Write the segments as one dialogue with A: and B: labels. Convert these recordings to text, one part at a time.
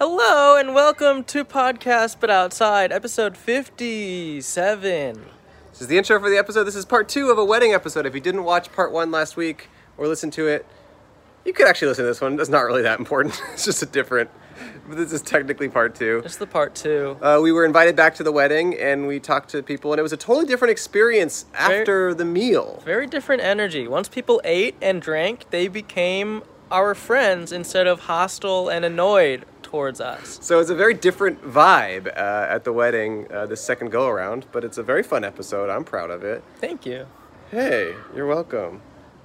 A: Hello and welcome to Podcast But Outside, episode 57.
B: This is the intro for the episode. This is part two of a wedding episode. If you didn't watch part one last week or listen to it, you could actually listen to this one. It's not really that important. It's just a different. But this is technically part two.
A: This is the part two.
B: Uh, we were invited back to the wedding and we talked to people, and it was a totally different experience
A: Very-
B: after the meal.
A: Very different energy. Once people ate and drank, they became our friends instead of hostile and annoyed towards us.
B: So it's a very different vibe uh, at the wedding uh, this second go around, but it's a very fun episode. I'm proud of it.
A: Thank you.
B: Hey, you're welcome.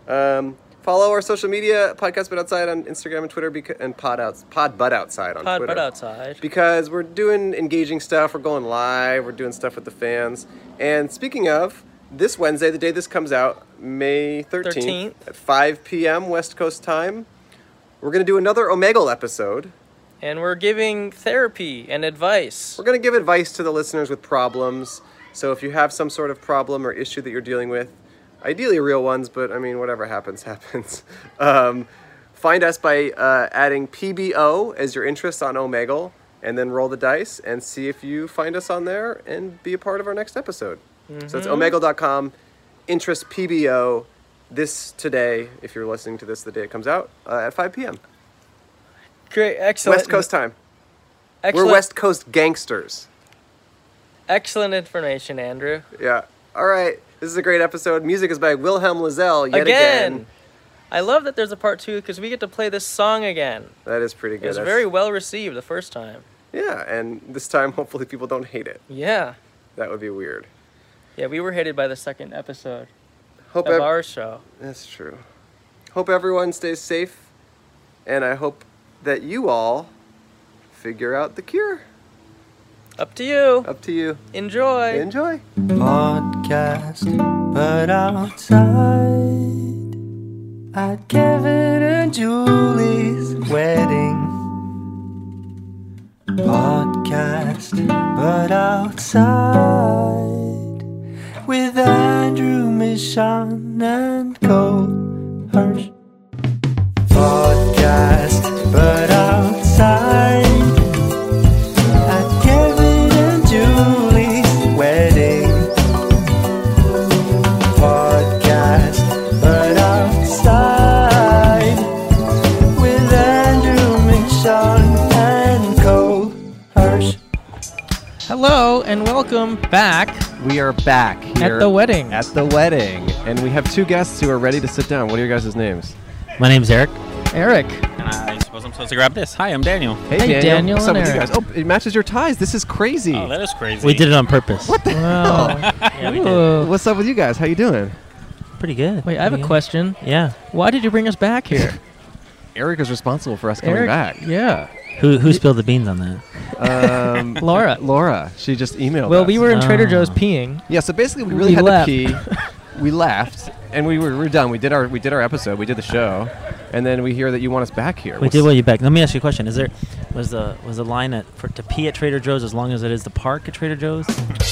B: Um, follow our social media, Podcast But Outside on Instagram and Twitter, beca- and Pod Outs, Pod But Outside on
A: Pod
B: Twitter.
A: But Outside.
B: Because we're doing engaging stuff, we're going live, we're doing stuff with the fans. And speaking of, this Wednesday, the day this comes out, May 13th,
A: 13th.
B: at 5 p.m. West Coast time, we're going to do another Omegle episode.
A: And we're giving therapy and advice.
B: We're going to give advice to the listeners with problems. So if you have some sort of problem or issue that you're dealing with, ideally real ones, but I mean, whatever happens, happens. Um, find us by uh, adding PBO as your interest on Omegle and then roll the dice and see if you find us on there and be a part of our next episode. So
A: Mm-hmm.
B: it's omegle.com, interest PBO, this today, if you're listening to this the day it comes out, uh, at 5 p.m.
A: Great, excellent.
B: West Coast time.
A: excellent,
B: We're West Coast gangsters.
A: Excellent information, Andrew.
B: Yeah. All right. This is a great episode. Music is by Wilhelm Lozell yet again.
A: I love that there's a part two because we get to play this song again.
B: That is pretty
A: It
B: good.
A: was
B: That's-
A: very well received the first time.
B: yeah, and this time hopefully people don't hate it.
A: Yeah.
B: That would be weird.
A: Yeah, we were hated by the second episode
B: Hope
A: of
B: ev-
A: our show.
B: that's true. Hope everyone stays safe, and I hope that you all figure out the cure.
A: Up to you.
B: Up to you.
A: Enjoy.
B: Enjoy.
C: podcast, but outside. At Kevin and Julie's wedding. Podcast, but outside. With Andrew, Michon, and Cole Hirsch. Podcast, but outside. At Kevin and Julie's wedding podcast, but outside with Andrew Michon and Cole Hirsch.
A: Hello and welcome back
B: We are back
A: at the wedding.
B: at the wedding, and we have two guests who are ready to sit down. What are your guys' names?
D: My name's Eric.
A: Eric.
D: And I suppose I'm supposed to grab this. Hi, I'm Daniel.
B: Hey,
A: Hey, Daniel
B: What's up
A: and
B: with you
A: Eric.
B: guys? Oh, it matches your ties. This is crazy.
E: Oh, that is crazy.
D: We did it on purpose. What the?
A: Wow.
D: Yeah, we did.
B: What's up with you guys? How you doing?
D: Pretty good.
A: Wait, I have a
D: Pretty good.
A: question.
D: Yeah.
A: Why did you bring us back here?
B: Eric is responsible for us coming
A: Eric?
B: back.
A: Yeah.
D: Who who spilled the beans on that?
B: Um,
A: Laura.
B: Laura, she just emailed
A: Well,
B: us.
A: we were in Trader
D: Ah.
A: Joe's peeing.
B: Yeah, so basically, we really
A: We
B: had
A: left.
B: the key. we left, and we were, we were done. We did our we did our episode. We did the show, and then we hear that you want us back here.
D: We did well. You back. Let me ask you a question. Is there was the was the line at, for to pee at Trader Joe's as long as it is the park at Trader Joe's?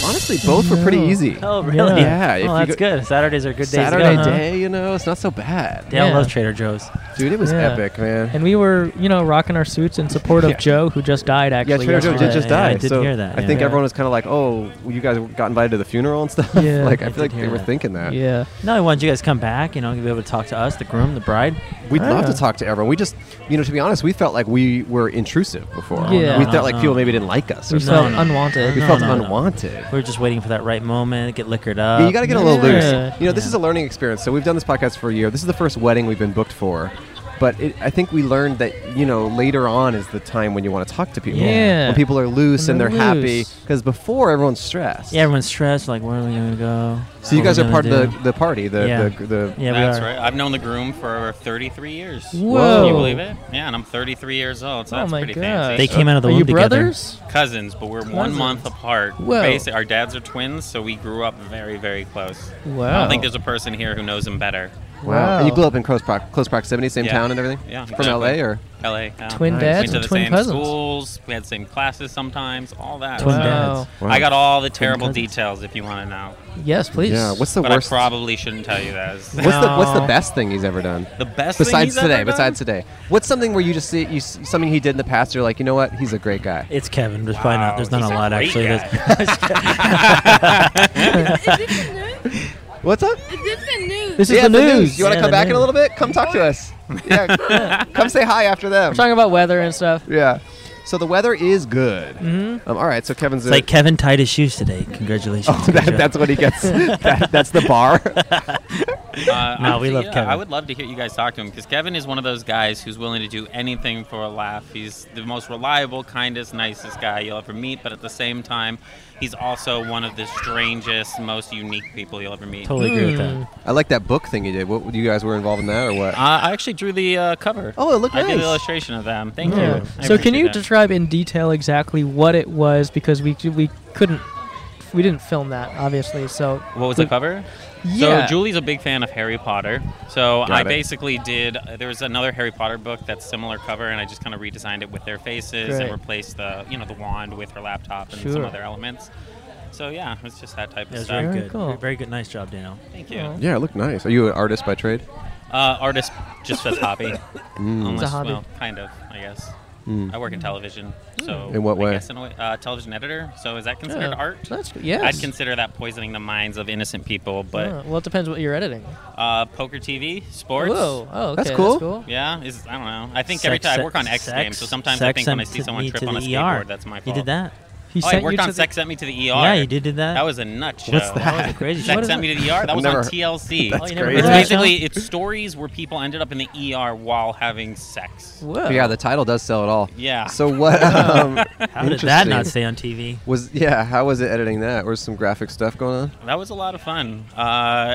B: Honestly, both were pretty
A: No.
B: easy.
D: Oh, really?
B: Yeah, if
D: Oh,
B: you
D: that's good. Saturdays are good days. to go, Uh-huh.
B: Saturday
D: huh?
B: day, you know, it's not so bad.
D: Dale
A: Yeah.
D: loves Trader Joe's.
B: Dude, it was
A: Yeah.
B: epic, man.
A: And we were, you know, rocking our suits in support of
B: Yeah.
A: Joe, who just died
B: Yeah,
A: actually.
B: Trader Joe
D: yesterday.
B: did just
D: Yeah,
B: die.
D: I did
B: so
D: hear that,
B: I
D: yeah.
B: think
A: Yeah.
B: everyone was kind of like, "Oh, you guys got invited to the funeral and stuff."
A: Yeah,
B: like
D: I
B: I feel
D: did
B: like they
D: hear
B: were
D: that.
B: thinking that.
A: Yeah.
D: No, I wanted you guys to come back. You know, be able to talk to us, the groom, the bride.
B: We'd love
A: Yeah.
B: to talk to everyone. We just, you know, to be honest, we felt like we were intrusive before.
A: Yeah.
B: We
A: No,
B: felt like
D: no.
B: people maybe didn't like us. Or
A: We felt
B: something.
D: no.
A: unwanted.
B: we
D: no,
B: felt
D: no, no.
B: unwanted.
D: We were just waiting for that right moment. Get liquored up.
B: Yeah, you got to get a little
A: Yeah.
B: loose. You know, this
D: Yeah.
B: is a learning experience. So we've done this podcast for a year. This is the first wedding we've been booked for. But it, I think we learned that you know later on is the time when you want to talk to people.
A: Yeah.
B: When people are loose
A: When
B: and
A: they're
B: they're happy,
A: loose.
B: because before everyone's stressed.
D: Yeah, everyone's stressed. Like, where are we gonna go?
B: So you
D: What
B: guys are
D: we
B: part
D: gonna
B: of
D: do?
B: the, the party. The,
D: Yeah.
B: the the
D: Yeah,
E: That's
D: we are.
E: right. I've known the groom for over 33 years.
A: Whoa.
E: Can you believe it? Yeah, and I'm 33 years old, so
A: Oh
E: that's
A: my
E: pretty
A: God.
E: fancy.
D: They came out of the
A: Are
D: womb
A: you
D: together.
A: brothers?
E: cousins, but we're one
A: Cousins.
E: month apart.
A: Whoa.
E: Basi- our dads are twins, so we grew up very, very close.
A: Wow.
E: I don't think there's a person here who knows him better.
B: Wow. And you
A: Wow.
B: grew up in close, prox- close proximity, same
E: Yeah.
B: town and everything?
E: Yeah,
B: From LA
E: exactly.
B: or?
E: LA. town.
A: Twin
E: Went
A: dads
E: to
A: and
E: the
A: twin
E: same
A: cousins.
E: Schools. We had the same classes sometimes. All that.
D: Twin
E: So
D: dads.
A: Wow.
E: I got all the terrible
D: cousins.
E: details if you want to know,
A: Yes, please.
B: Yeah. What's the
E: but
B: worst?
E: I probably shouldn't tell you that. It's
B: what's, the, what's the
A: No.
B: best thing he's ever done?
E: the best. thing
B: Besides
E: he's
B: today,
E: ever done?
B: besides today, what's something where you just see you s- something he did in the past? You're like, you know what? He's a great guy.
D: It's Kevin. There's probably not. There's not
E: he's
D: a
E: a
D: lot
E: great
D: actually.
E: guy.
D: That's,
B: What's up?
A: This is
B: yeah,
A: the
B: it's
A: news.
B: You want to
D: Yeah,
B: come
D: the
B: back in a
D: news.
B: little bit? Come talk to us. Yeah, come say hi after them.
A: We're talking about weather and stuff.
B: Yeah. So the weather is good. Mm-hmm. Um, all right. So Kevin's
D: it's like Kevin tied his shoes today. Congratulations.
B: Oh,
D: Good
B: that,
D: job.
B: that's what he gets. that, that's the bar.
E: Uh,
D: No,
E: I'd
D: we
E: say,
D: love
E: yeah,
D: Kevin.
E: I would love to hear you guys talk to him because Kevin is one of those guys who's willing to do anything for a laugh. He's the most reliable, kindest, nicest guy you'll ever meet, but at the same time, he's also one of the strangest, most unique people you'll ever meet.
D: Totally
B: Hmm.
D: agree with that.
B: I like that book thing you did. What you guys were involved in that or what?
E: Uh, I actually drew the uh, cover.
B: Oh, it looked
E: I did
B: nice.
E: an illustration of them. Thank
A: Yeah.
E: you. I
A: So can
E: appreciate
A: you
E: that.
A: describe in detail exactly what it was because we we couldn't we didn't film that obviously. So
E: What was the cover?
A: yeah.
E: So Julie's a big fan of Harry Potter. So
B: Got
E: I
B: it.
E: basically did. uh, There was another Harry Potter book that's similar cover, and I just kind of redesigned it with their faces
A: Great.
E: and replaced the you know the wand with her laptop and some
A: Sure.
E: other elements. So yeah, it's just that type of
D: That was
E: stuff.
D: very
A: Very
D: good.
A: cool.
D: Very good. Nice job, Daniel.
E: Thank you.
A: Aw.
B: Hmm. yeah, it looked nice. Are you an artist by trade?
E: Uh, artist just as hobby. Unless,
A: It's a hobby.
E: Well, kind of, I guess. I work in television. So
B: In what
E: I
B: way?
E: guess in a way- uh, television editor. So is that considered
A: Yeah.
E: art?
A: That's yes. Oh.
E: I'd consider that poisoning the minds of innocent people,
A: Yeah,
E: but
A: well, it depends what you're editing.
E: uh, poker TV, sports.
A: Whoa. Oh, okay.
B: That's cool.
E: Yeah, is I don't know. I think every
D: Sex-
E: time I work on X
D: sex-
E: Games, so sometimes I
D: sex
E: think when I
D: sent
E: see someone
D: me
E: trip
D: to
E: on a
D: the
E: skateboard,
D: ER.
E: that's my fault.
D: You did that?
A: He
E: Oh, I
A: sent
E: worked
A: you
E: on
A: to the-
E: Sex Sent Me to the ER.
D: Yeah, you did, did that.
E: That was a nut show.
D: What's that? was crazy.
E: Sex
A: is
E: Sent Me to the ER. That was
B: Never-
E: on TLC.
B: That's
D: Oh, you never
B: great.
D: heard
E: It's
D: of that show?
E: basically it's stories where people ended up in the ER while having sex.
A: Whoa.
B: Yeah, the title does sell it all.
E: Oh. Yeah.
B: So what? Um,
D: How did that not
B: interesting.
D: stay on TV?
B: Was yeah? How was it editing that? Was some graphic stuff going on?
E: That was a lot of fun. Uh,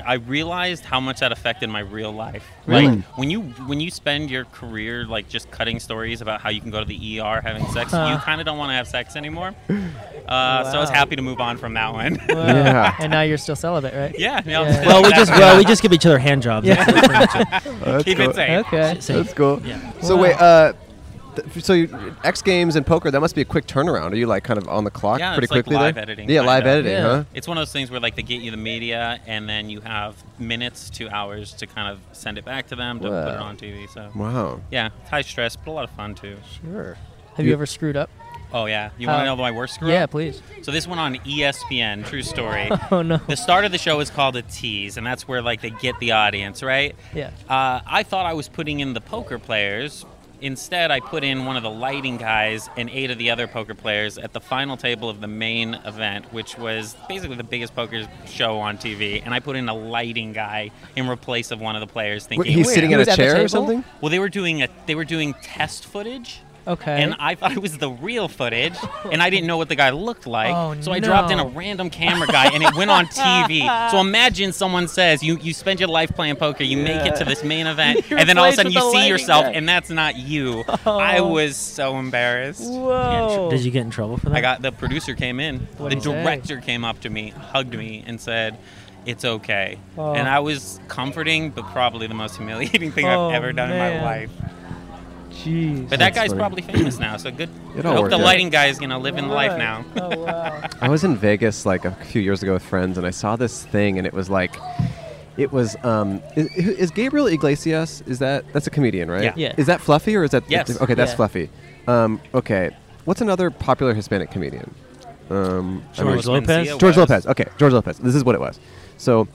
E: I realized how much that affected my real life.
A: Really?
E: Like, when you when you spend your career like just cutting stories about how you can go to the ER having sex,
A: Huh.
E: you kind of don't want to have sex anymore. Uh, So I was
A: Wow.
E: happy to move on from that one.
A: Whoa.
B: Yeah.
A: And now you're still celibate, right?
E: yeah. No,
A: Yeah.
D: Well, we just well we just give each other hand jobs.
A: Yeah.
D: That's pretty much it.
E: keep it safe.
A: Okay.
D: Same.
B: That's cool.
D: Yeah.
B: So
A: Wow.
B: wait, uh, th- so you, X Games and poker that must be a quick turnaround. Are you like kind of on the clock
E: Yeah,
B: pretty
E: it's like
B: quickly
E: live
B: there?
E: editing,
B: yeah, live
E: kinda.
B: editing,
A: Yeah.
B: huh?
E: It's one of those things where like they get you the media, and then you have minutes to hours to kind of send it back to them to put
B: Wow.
E: it on TV. So
B: Wow.
E: yeah, it's high stress, but a lot of fun too.
A: Sure. Have you
B: You-
A: ever screwed up?
E: Oh yeah, you
A: How-
E: want to know my worst screw
A: Uh, Yeah,
E: up?
A: please.
E: So this went on E ESPN. True story.
A: Oh no.
E: the start of the show is called a tease, and that's where like they get the audience, right?
A: Yeah.
E: Uh, I thought I was putting in the poker players. Instead, I put in one of the lighting guys and eight of the other poker players at the final table of the main event, which was basically the biggest poker show on TV. And I put in a lighting guy in replace of one of the players,
B: Wait,
E: thinking,
B: he's sitting
A: He
B: at
A: was
B: a
A: at the
B: chair or
A: table?
B: something.
E: well, they were doing a they were doing test footage.
A: Okay.
E: And I thought it was the real footage, and I didn't know what the guy looked like.
A: Oh,
E: so I dropped in
A: no.
E: a random camera guy, and it went on TV. So imagine someone says, "You you spend your life playing poker, you make it to this main event,
A: You're
E: and then all of a
A: replaced
E: sudden
A: with
E: you
A: a
E: see
A: lighting
E: yourself,
A: guy. Oh.
E: and that's not you." I was so embarrassed.
A: Whoa.
D: Did you get in trouble for that?
E: I got the producer came in,
A: What'd
E: the
A: he say?
E: director came up to me, hugged me, and said. It's okay.
A: Oh.
E: And I was comforting, but probably the most humiliating thing
A: Oh,
E: I've ever done in
A: man.
E: my life.
A: Jeez.
E: But that
B: That's
E: guy's
B: funny.
E: probably famous now, so good.
B: It all
E: I hope the
B: worked out.
E: lighting guy's gonna live in life now.
A: oh wow.
B: I was in Vegas like a few years ago with friends, and I saw this thing, and it was like, it was um, is, is Gabriel Iglesias? Is that that's a comedian, right?
E: Yeah.
A: Yeah.
B: Is that Fluffy or is that?
E: Yes.
B: Okay, that's
A: Yeah.
B: Fluffy. Um, okay, what's another popular Hispanic comedian? Um, I mean-
D: George Lopez?
E: Mencia
B: George
E: was-
B: Lopez. Okay, George Lopez. This is what it was. So,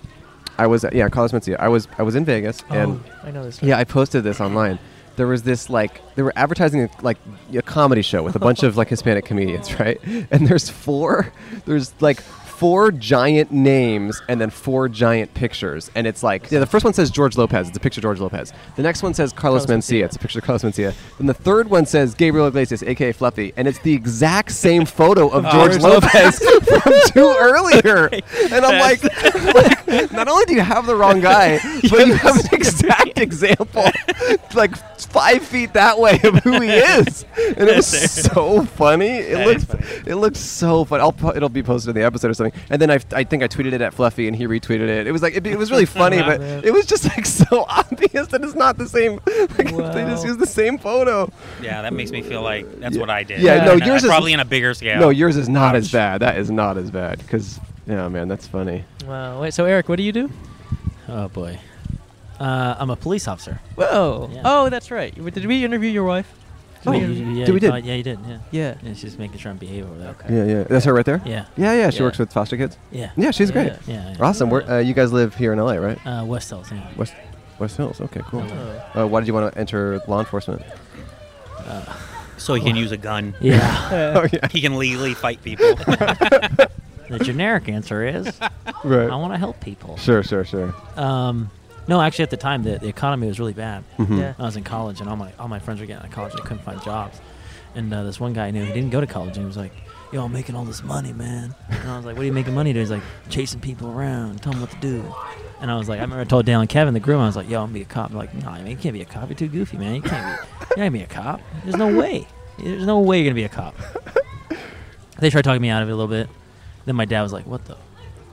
B: I was yeah, Carlos Mencia. I was I was in Vegas, and
A: oh, I know this.
B: yeah, I posted this online. There was this like they were advertising a, like a comedy show with a bunch of like Hispanic comedians, right? And there's four, there's like four giant names and then four giant pictures, and it's like yeah, the first one says George Lopez, it's a picture of George Lopez. The next one says Carlos
A: Carlos
B: Mencia, it's a picture of Carlos Mencia. Then the third one says Gabriel Iglesias, aka Fluffy, and it's the exact same photo of George
A: George
B: Lopez from two earlier. And I'm like, like, not only do you have the wrong guy, but you have an exact example, like five feet that way of who he is, and it was so funny. It
E: That
B: looked
E: is funny.
B: it looked so funny. I'll pu- it'll be posted in the episode or something. And then I, I think I tweeted it at Fluffy, and he retweeted it. It was like it, it was really funny, but
A: Man.
B: it was just like so obvious that it's not the same. Like they just
A: Wow.
B: used the same photo.
E: Yeah, that makes me feel like that's
B: Yeah.
E: what I did.
B: Yeah,
E: And
B: no,
E: I-
B: yours is-
E: probably in a bigger scale.
B: No, yours is not as bad. That is not as bad because yeah, man, that's funny.
A: Wow. Wait. So Eric, what do you do?
D: Oh boy. Uh, I'm a police officer.
A: Whoa.
D: Yeah.
A: Oh, that's right. W- Did we interview your wife?
B: Oh,
D: yeah,
A: you-
D: you- yeah,
B: yeah, we
D: you
B: did.
D: thought- yeah, you did. Yeah.
A: Yeah.
D: And she's making sure I'm behave over there.
B: Yeah, yeah, that's her right there.
D: Yeah.
B: Yeah, yeah, she
A: Yeah.
B: works with foster kids.
D: Yeah.
B: Yeah, she's great.
D: Yeah. yeah.
B: Awesome. Where, uh, you guys live here in LA, right?
D: Uh, West Hills. Yeah.
B: West West Hills. Okay, cool.
A: Oh.
B: Uh, why did you want to enter law enforcement?
E: So he can use a gun.
D: Yeah.
B: oh yeah,
E: He can legally fight people.
D: the generic answer is
B: right.
D: I want to help people.
B: Sure, sure, sure.
D: Um, no, actually, at the time, the, the economy was really bad.
B: Mm-hmm.
A: Yeah.
D: I was in college, and all my all my friends were getting out of college. and couldn't find jobs, and uh, this one guy I knew he didn't go to college, and he was like, "Yo, I'm making all this money, man." And I was like, "What are you making money doing?" He's like, "Chasing people around, telling them what to do." And I was like, I remember I told Dan and Kevin, the groom, I was like, "Yo, I'm gonna be a cop." They're like, "No, man, you can't be a cop. You're too goofy, man. You can't be. You can't be a cop. There's no way. There's no way you're gonna be a cop." They tried talking me out of it a little bit. Then my dad was like, "What the?"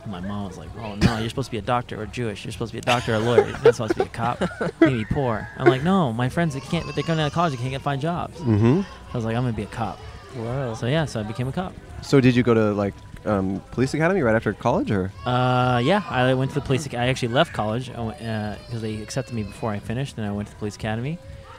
D: And my mom was like, "Oh no, you're supposed to be a doctor or Jewish. You're supposed to be a doctor or a lawyer. You're not supposed to be a cop. You need to be poor." I'm like, "No, my friends they can't. They come out of college. They can't get find jobs."
B: Mm-hmm.
D: I was like, "I'm gonna be a cop."
A: Wow.
D: So yeah, so I became a cop.
B: So did you go to like um, police academy right after college, or
D: Uh, yeah, I went to the police. ac- I actually left college because they accepted me before I finished, and I went to the police academy.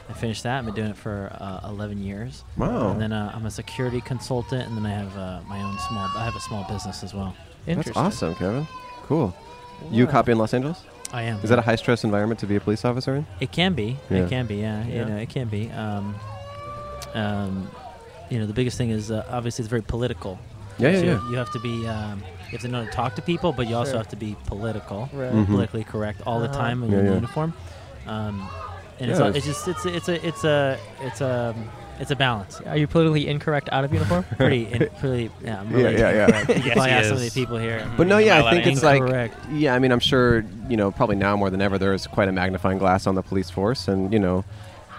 D: I finished that. I've been doing it for uh, 11 years.
B: Wow.
D: And then uh, I'm a security consultant, and then I have uh, my own small. I have a small business as well.
B: that's
A: Interesting.
B: awesome, Kevin. Cool. You a cop in Los Angeles?
D: I am.
B: Is that a high stress environment to be a police officer in?
D: It can be.
B: Yeah.
D: It can be. Yeah,
A: Yeah.
D: You know, it can be. Um, um, you know, the biggest thing is uh, obviously it's very political.
B: Yeah, yeah,
D: So
B: yeah.
D: You have to be. Um, you have to know how to talk to people, but you also
A: Sure.
D: have to be political,
A: Right.
B: Mhm.
D: politically correct all the
A: Uh-huh.
D: time in
B: Yeah,
D: your
B: yeah.
D: uniform. Um,
B: Yeah,
D: and it's, it's, it's just it's it's a it's a it's a it's a balance.
A: Are you politically incorrect out of uniform?
D: Pretty, in, pretty, yeah, I'm
B: Yeah,
D: really
B: yeah, yeah.
D: incorrect. You
E: Yes,
D: probably
E: he
D: ask some of
E: is.
D: the people here.
B: But no,
E: Am I
B: yeah, I
E: allowed
B: think
E: to
B: it's
E: answer?
B: like
D: Correct.
B: yeah. I mean, I'm sure you know probably now more than ever there is quite a magnifying glass on the police force, and you know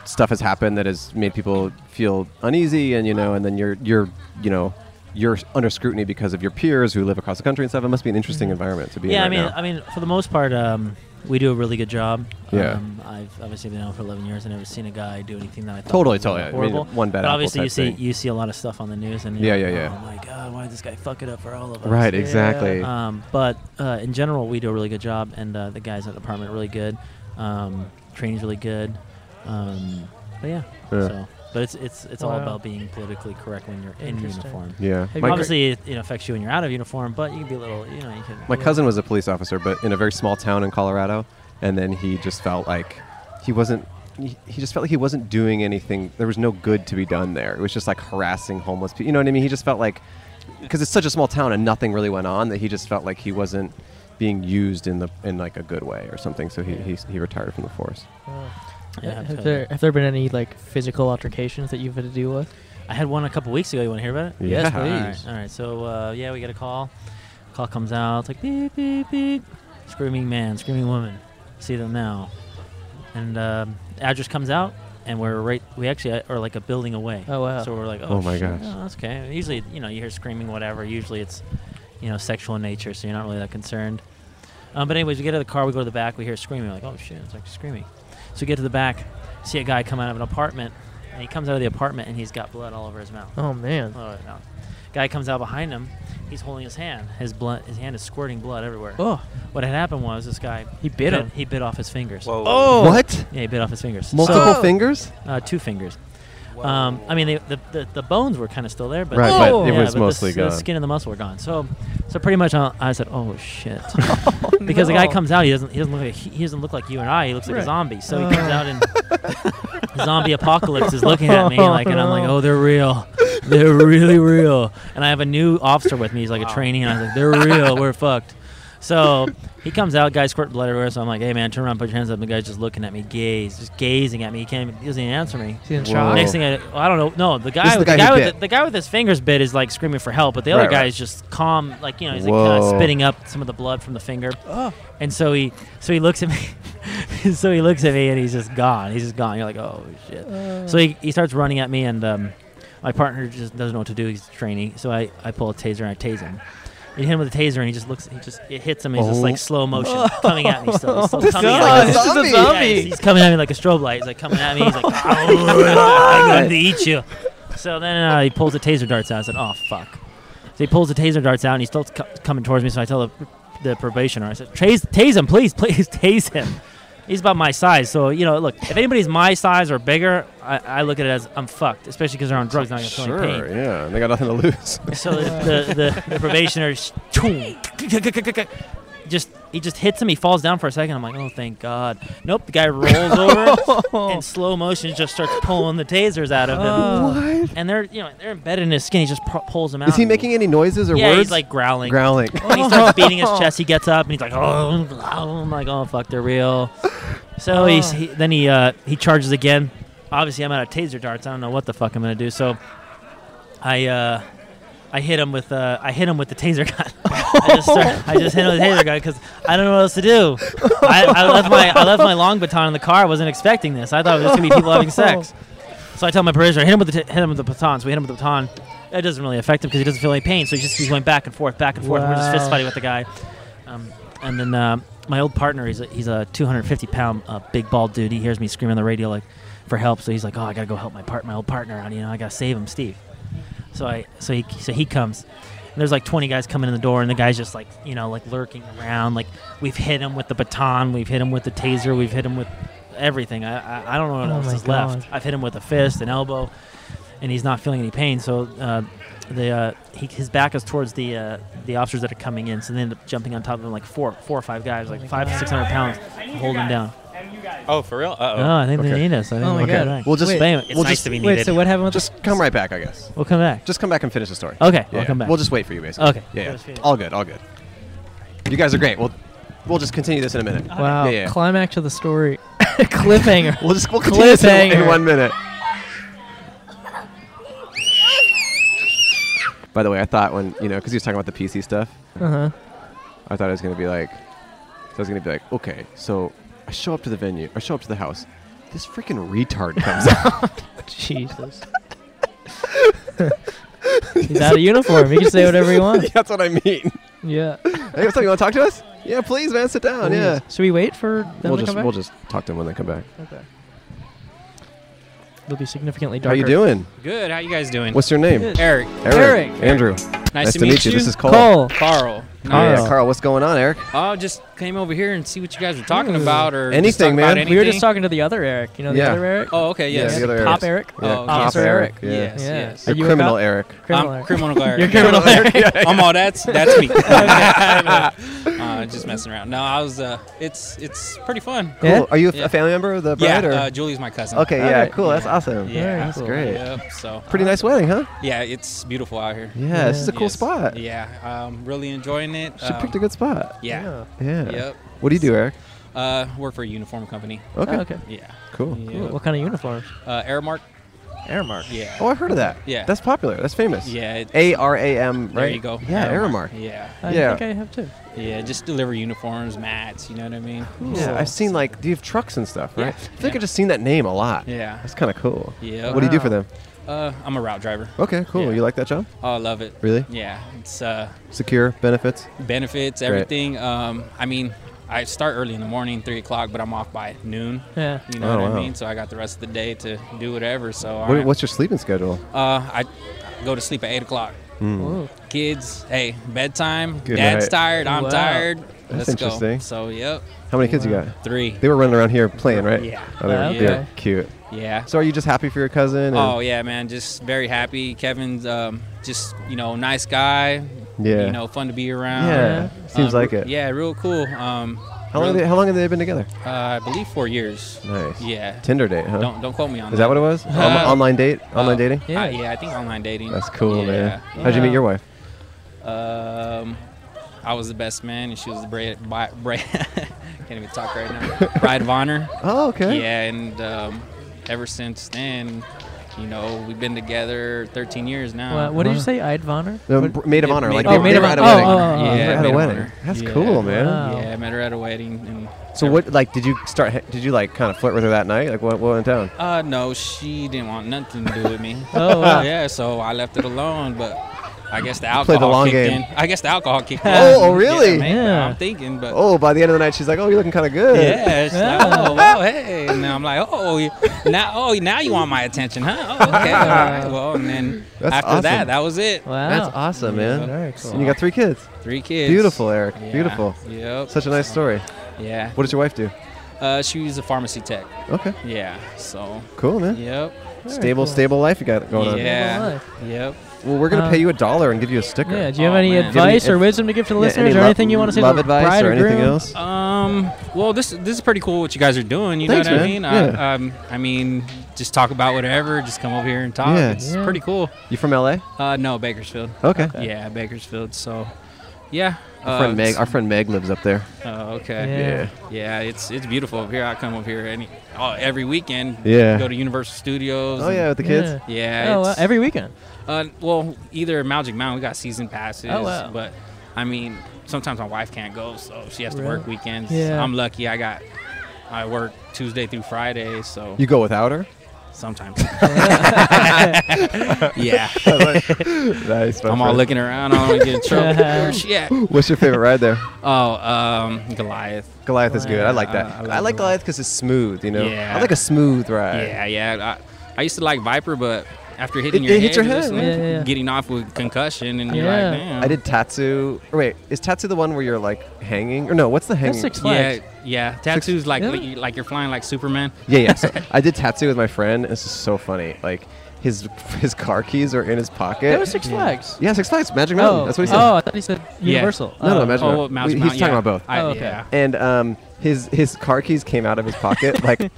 B: stuff has happened that has made people feel uneasy, and you know, and then you're you're you know you're under scrutiny because of your peers who live across the country and stuff. It must be an interesting environment to be
D: Mm-hmm. yeah, I
B: in. right
D: mean,
B: now.
D: I mean, for the most part, um, we do a really good job.
B: Yeah.
D: Um, I've obviously been out for 11 years. I've never seen a guy do anything that I thought
B: Totally,
D: was
B: totally. I mean,
D: horrible.
B: one bad
D: But
B: apple
D: obviously,
B: type
D: you see
B: thing.
D: you see a lot of stuff on the news, and
B: Yeah,
D: you're
B: yeah,
D: like,
B: yeah.
D: Oh my God, why did this guy fuck it up for all of us?
B: right,
A: Yeah.
B: exactly.
D: Um, but uh, in general, we do a really good job, and uh, the guys at the department are really good. Um, training's really good. Um, but yeah,
B: Yeah.
D: so but it's it's it's all
A: Wow.
D: about being politically correct when you're in
A: Interesting.
D: uniform.
B: yeah,
A: Have
B: my,
A: you-
D: Obviously, it, it affects you when you're out of uniform, but you can be a little, you know, you can.
B: my cousin was a police officer, but in a very small town in Colorado, and then he just felt like he wasn't. He he just felt like he wasn't doing anything. There was no good to be done there. It was just like harassing homeless people. You know what I mean? He just felt like because it's such a small town and nothing really went on that he just felt like he wasn't being used in the in like a good way or something. So he he, he retired from the force.
D: Yeah,
A: have,
D: totally.
A: there, have there been any like physical altercations that you've had to deal with?
D: I had one a couple weeks ago. You want to hear about it?
B: Yes, Yeah.
D: All right,
B: please.
D: All right. So uh, yeah, we get a call. Call comes out. It's like beep beep beep. Screaming man, screaming woman. See them now. And um, address comes out, and we're right. We actually are like a building away.
A: Oh, wow.
D: So we're like, oh,
B: Oh, my
D: shit,
B: gosh.
D: no, that's okay. And usually, you know, you hear screaming, whatever. Usually, it's you know sexual in nature, so you're not really that concerned. Um, but anyways, we get out of the car, we go to the back, we hear screaming. We're like, oh shit, it's like screaming. So we get to the back, see a guy come out of an apartment, and he comes out of the apartment and he's got blood all over his mouth.
A: Oh man.
D: All over his mouth. Guy comes out behind him, he's holding his hand. His blood, his hand is squirting blood everywhere.
A: Oh.
D: What had happened was this guy
A: He bit him.
D: He bit off his fingers.
A: Oh.
B: What?
D: Yeah, he bit off his fingers.
B: Multiple
A: Oh.
B: fingers?
D: So, uh, two fingers. Um, I mean, they, the, the the bones were kind of still there, but Oh!
B: Right,
A: but it
D: yeah,
B: was
D: but
B: mostly
D: the, s-
B: gone.
D: The skin and the muscle were gone. So, so pretty much, uh, I said, "Oh shit," because the guy
A: no.
D: comes out, he doesn't he doesn't look like, he, he doesn't look like you and I. He looks like
A: Right.
D: a zombie. So
A: Oh.
D: he comes out and zombie apocalypse is looking at me like, and I'm like,
A: No.
D: "Oh, they're real, they're really real." And I have a new officer with me. He's like a trainee, and I was like, "They're real. We're fucked." So he comes out, guy squirt blood everywhere. So I'm like, hey man, turn around, put your hands up. The guy's just looking at me, gaze, just gazing at me. He can't, even, he doesn't even answer me.
A: He's in
B: Whoa.
A: shock.
D: Next thing I, well, I don't know. No, the
B: This is
D: guy,
B: the
D: the, guy
B: guy who
D: with
B: bit.
D: the, the guy with his fingers bit is like screaming for help, but the
F: Right,
D: other guy
F: right.
D: is just calm, like you know, he's like kind
B: Whoa.
D: of spitting up some of the blood from the finger. And so he, so he looks at me, so he looks at me, and he's just gone. He's just gone. You're like, oh shit. So he, he starts running at me, and um, my partner just doesn't know what to do. He's a trainee, so I, I pull a taser and I tase him. You hit him with a taser, and he just looks. He just it hits him. And he's just
B: Oh.
D: like slow motion coming at me. Still, he's still
A: This
D: coming
A: is
D: at
A: like
D: me.
A: a zombie.
D: He's- yeah, he's- he's coming at me like a strobe light. He's like coming at me. He's
B: Oh
D: like, I'm going to eat you. So then uh, he pulls the taser darts out. I said, oh fuck. So he pulls the taser darts out, and he's still co- coming towards me. So I tell the, the probationer, I said, tase, tase him, please, please, tase him. He's about my size, so you know. Look, if anybody's my size or bigger, I, I look at it as I'm fucked, especially because they're on drugs, not gonna feel any pain.
B: Sure, yeah. They got nothing to lose.
D: So the, the, the, the probationer sh- choom, just he just hits him. He falls down for a second. I'm like, oh, thank God. Nope. The guy rolls over in slow motion. Just starts pulling the tasers out of him,
B: what?
D: and they're you know they're embedded in his skin. He just pu- pulls them out.
B: Is he making any noises or
D: Yeah,
B: words?
D: he's like growling.
B: growling.
D: And he starts beating his chest. He gets up and he's like, oh, I'm like, oh fuck, they're real. So he's, he then he uh, he charges again. Obviously, I'm out of taser darts. I don't know what the fuck I'm gonna do. So I uh, I hit him with uh, I hit him with the taser gun. I just start, I just hit him with the taser gun because I don't know what else to do. I, I left my I left my long baton in the car. I wasn't expecting this. I thought it was just gonna be people having sex. So I tell my parishioner, hit him with the t- hit him with the baton. So we hit him with the baton. It doesn't really affect him because he doesn't feel any pain. So he just he's going back and forth, back and forth. and we're just
A: Wow.
D: fist fighting with the guy. Um, and then uh, my old partner, he's a, he's a 250 pound uh, big bald dude. He hears me screaming on the radio like for help. So he's like, oh, I gotta go help my part my old partner out. You know, I gotta save him, Steve. So I so he so he comes. And there's like 20 guys coming in the door, and the guy's just like you know like lurking around. Like we've hit him with the baton, we've hit him with the taser, we've hit him with everything. I I, I don't know what
A: Oh
D: else
A: my
D: is
A: God.
D: left. I've hit him with a fist, an elbow, and he's not feeling any pain. So. Uh, the uh, he, his back is towards the uh, the officers that are coming in, so they end up jumping on top of him like four four or five guys, like five to six hundred pounds, holding him down.
E: Oh, for real? Uh
D: Oh,
E: oh.
D: I think
B: okay.
D: they need us. I think
A: Oh my
D: we'll get
A: God.
D: back.
B: We'll just-
D: Wait,
B: bam it.
E: It's
B: We'll
E: nice
B: just-
E: to be needed.
A: Wait, so what happened with
B: Just come right back, I guess.
D: We'll come back.
B: Just come back and finish the story.
D: Okay,
B: Yeah,
D: I'll come
B: yeah.
D: back.
B: We'll just wait for you, basically.
D: Okay.
B: Yeah,
D: Just
B: yeah.
D: finish.
B: All good. All good. You guys are great. We'll we'll just continue this in a minute.
A: the wow
B: Yeah, yeah.
A: climax of the story? Cliffhanger.
B: We'll just we'll continue this in, in
A: Cliffhanger.
B: one minute. By the way, I thought when you know because he was talking about the PC stuff,
A: Uh huh.
B: I thought it was gonna be like, so I was gonna be like, okay, so I show up to the venue, I show up to the house, this freaking retard comes out.
A: Jesus. He's out of uniform. He can say whatever he wants.
B: That's what I mean.
A: Yeah.
B: Hey, what's up? You want to talk to us? Yeah, please, man. Sit down. Yeah.
A: Should we wait for them
B: We'll
A: to
B: just
A: come back?
B: we'll just talk to them when they come back.
A: Okay. It'll be significantly
B: How
A: darker.
B: you doing?
G: Good. How you guys doing?
B: What's your name?
A: Good.
G: Eric?
B: Eric.
G: Eric.
B: Andrew.
G: Nice, to, meet, you.
B: This is Cole.
A: Cole.
G: Carl.
B: Oh, yeah,
A: Carl.
B: Carl. What's going on, Eric?
G: Oh, just came over here and see what you guys were talking about or just
B: Anything,
G: talk about
B: man.
A: We were just
G: anything?
A: talking to the other Eric. You know the
B: Yeah.
A: other Eric?
G: Oh, okay. Yes.
B: Yeah, the other
A: Pop
B: Eric.
A: Eric.
B: Yeah.
G: Oh,
B: Pop
G: yes.
B: Eric. Yeah.
G: Yes.
A: Yeah.
G: Yes.
A: Are
B: You're
A: you a
B: criminal,
A: cop?
B: Eric.
A: Criminal
G: I'm
A: Eric.
G: criminal Eric.
A: You're criminal Eric.
G: I'm all that's that's me. uh, just messing around. No, I was. Uh, it's it's pretty fun.
B: Cool.
A: Yeah?
B: Are you a
G: Yeah.
B: a family member of the
G: Yeah.
B: bride? or?
G: Uh, Julie's my cousin.
B: okay. Yeah.
A: Alright.
B: Cool. That's awesome.
G: Yeah.
B: That's
A: Cool.
B: great.
G: Yep. So uh,
B: Pretty nice wedding, huh?
G: yeah, it's beautiful out here.
B: Yeah. This is a cool
G: Yes.
B: spot.
G: Yeah. Um, really enjoying it.
B: She
G: Um,
B: picked a good spot.
G: yeah.
B: Yeah.
G: Yep.
B: What do you do, Eric?
G: Uh, work for a uniform company.
B: Okay.
A: Oh, okay.
G: Yeah.
B: Cool.
G: Yeah.
A: Cool. What kind of uniforms?
G: Uh, Airmark.
B: Aramark.
G: Yeah.
B: Oh, I've heard of that.
G: Yeah.
B: That's popular. That's famous.
G: Yeah. It,
B: A R A M. Right.
G: there you go.
B: Yeah. Aramark.
G: Yeah.
A: I
B: Yeah.
A: think I have two.
G: Yeah. Just deliver uniforms, mats. You know what I mean?
B: Yeah. I've seen like do you have trucks and stuff, right?
G: Yeah.
B: I think
G: Yeah.
B: I've just seen that name a lot.
G: Yeah.
B: That's kind of cool.
G: Yeah.
B: What do you do for
A: Wow.
B: them?
G: Uh, I'm a route driver.
B: Okay. Cool.
G: Yeah.
B: You like that job?
G: Oh, I love it.
B: Really?
G: Yeah. It's uh,
B: Secure benefits.
G: benefits,
B: Great.
G: everything. Um, I mean, I start early in the morning, three o'clock, but I'm off by noon.
A: Yeah.
G: You know
B: Oh,
G: what
B: wow.
G: I mean? So I got the rest of the day to do whatever. So
B: What,
G: alright.
B: What's your sleeping schedule? Hmm.
G: uh, I go to sleep at eight o'clock.
A: Ooh.
G: Kids, hey, bedtime.
B: Good
G: Dad's
B: night.
G: tired. I'm
A: Wow.
G: tired.
B: That's
G: Let's
B: interesting.
G: go. So yep,
B: How many kids you got?
G: three.
B: They were running around here playing, right?
G: Yeah.
B: Oh, they were,
A: Okay.
B: they were cute.
G: Yeah.
B: So are you just happy for your cousin? and-
G: Oh yeah, man, just very happy. Kevin's um, just you know nice guy.
B: Yeah.
G: You know, fun to be around.
B: yeah. Seems
G: Um,
B: like it.
G: Yeah, real cool. Um,
B: How long, have
G: really-
B: they, how long have they been together?
G: Uh, I believe four years.
B: Nice.
G: Yeah.
B: Tinder date, huh?
G: Don't don't quote me on Oh, uh,
B: Is that what it was? On- online date? Online dating?
G: Yeah, yeah, I think online dating.
B: That's cool,
G: yeah.
B: man. How'd you meet your wife?
G: Um, I was the best man, and she was the bride. Bi- bra- can't even talk right now. Bride of honor.
B: Oh, okay.
G: Yeah, and um, ever since then, you know, we've been together 13 years now.
A: What, what did you say, Eidvonner?
B: Um, br- maid of honor, like
G: Maid-
B: they
G: oh,
B: were-
G: maid
B: they
G: of
B: were at a
G: honor.
B: wedding.
A: Oh, oh, oh,
B: They were
G: yeah,
B: at
G: maid
B: a
G: of
B: wedding.
G: honor.
B: That's
G: Yeah.
B: cool, man.
A: Wow. Oh.
G: Yeah, I met her at a wedding. And
B: So what? Like, did you start? Did you like kind of flirt with her that night? Like, what, what went down?
G: Uh, no, she didn't want nothing to do with me.
A: Oh, wow.
G: yeah, so I left it alone. But I guess the
B: played
G: alcohol
B: the long
G: kicked
B: game.
G: in. I guess the alcohol kicked in.
B: Oh, oh, really?
G: Yeah, maybe.
A: Yeah.
G: I'm thinking, but
B: Oh, by the end of the night, she's like, "Oh, you're looking kind of good."
G: yeah, it's like,
A: Yeah.
G: oh, well, hey, and I'm like, oh, you- now, oh, now you want my attention, huh? Oh, okay, all right. well, and then
B: That's
G: after
B: awesome.
G: that, that was it.
A: Wow.
B: That's awesome, man.
G: Yeah.
B: Nice. And you got three kids.
G: Three kids.
B: Beautiful, Eric.
G: Yeah.
B: Beautiful.
G: Yep.
B: Such a nice story.
G: Yeah.
B: What does your wife do?
G: Uh, she was a pharmacy tech.
B: Okay.
G: Yeah. So.
B: Cool, man.
G: Yep.
B: Stable,
A: cool.
B: stable life you got going on.
G: Yeah.
A: Life.
G: Yep.
B: Well, we're gonna
A: Uh,
B: pay you a dollar and give you a sticker.
A: Yeah, do you have
G: Oh,
A: any
G: man.
A: advice
B: Give me-
A: or wisdom to give to the
B: Yeah,
A: listeners
B: any
A: or
B: lo-
A: anything you want to say
B: love
A: to the
B: advice
A: bride
B: or anything
A: groom?
B: else?
G: Um. Well, this this is pretty cool what you guys are doing. You
B: Thanks,
G: know what
B: man.
G: I mean?
B: Yeah.
G: I, um, I mean, just talk about whatever. Just come over here and talk.
B: Yeah.
G: It's
A: Yeah.
G: pretty cool.
B: You from LA?
G: Uh, no, Bakersfield.
B: Okay.
G: Yeah, Bakersfield. So, yeah.
B: Our
G: uh,
B: friend Meg.
G: it's-
B: Our friend Meg lives up there.
G: Oh, okay.
A: Yeah.
G: Yeah. it's it's beautiful up here. I come up here any oh, every weekend.
B: Yeah.
G: Go to Universal Studios.
B: Oh
G: and-
B: yeah, with the kids.
A: Yeah.
G: Yeah.
A: oh, wow.
G: it's-
A: every weekend.
G: Uh, well, either Magic Mountain, we got season passes.
A: Oh, wow.
G: But I mean, sometimes my wife can't go, so she has to work
A: Really?
G: weekends.
A: Yeah.
G: I'm lucky. I got I work Tuesday through Friday, so
B: You go without her?
G: sometimes. yeah,
B: nice. my
G: I'm all
B: friend.
G: looking around. I don't want to get in trouble.
A: Uh-huh.
G: Where's she at?
B: What's your favorite ride there?
G: Oh, um, Goliath.
B: Goliath is good. I like that.
G: Uh, I
B: I
G: like
B: like Goliath because it's smooth. You know.
G: Yeah.
B: I like a smooth ride.
G: Yeah, yeah. I, I used to like Viper, but after hitting
B: It-
G: your
B: it
G: head,
B: hits your
G: you're just,
B: head,
G: like,
A: right? Yeah, yeah.
G: getting off with concussion, and you're
A: Yeah.
G: like, damn.
B: I did Tatsu. Or wait, is Tatsu the one where you're like hanging? Or no, what's the hanging?
A: Six
G: Yeah,
A: Flags.
G: yeah. Tattoos like
A: Yeah.
G: like, you- like you're flying like Superman.
B: Yeah, yeah. So I did Tatsu with my friend. This is so funny. Like his his car keys are in his pocket.
A: There was Six Flags.
B: Yeah, Six Flags, Magic Mountain.
A: Oh.
B: That's what he said.
A: Oh, I thought he said
G: Yeah.
A: Universal.
B: No, no,
A: Oh.
B: Magic
G: Oh,
B: Mountain.
G: well, Mouse
B: We-
G: Mount,
B: he's talking
G: yeah.
B: about both.
G: I,
A: Oh, okay.
G: Yeah.
B: and um, his his car keys came out of his pocket like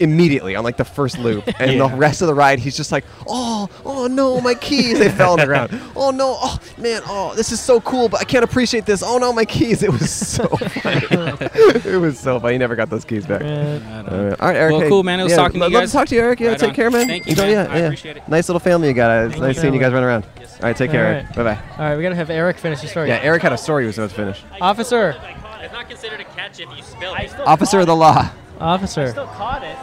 B: immediately on like the first loop, and the
G: Yeah.
B: rest of the ride he's just like, oh, oh no, my keys! They fell on the ground. Oh no, oh man, oh this is so cool, but I can't appreciate this. Oh no, my keys! It was so funny. it was so funny. He never got those keys back.
A: Uh,
G: I don't
B: All right, all right, Eric.
G: Well,
B: hey,
G: cool, man. It was
B: yeah,
G: talking to
B: lo-
G: you
B: love
G: guys.
B: to talk to you, Eric. Yeah,
G: Right
B: take
G: on.
B: care, man.
G: Thank you,
B: Enjoy,
G: man.
B: Yeah,
G: I
B: yeah.
G: appreciate it.
B: Nice little family you got. Uh,
A: Thank
B: nice
A: you.
B: seeing you guys run around. All right, take care,
A: All
B: Eric. Bye bye.
A: all right, we got to have Eric finish his story.
B: Yeah, Eric had a story he was about to finish.
A: Officer.
H: It's not considered a catch if you spill it.
B: Officer of the law.
A: Officer.
H: Still caught it.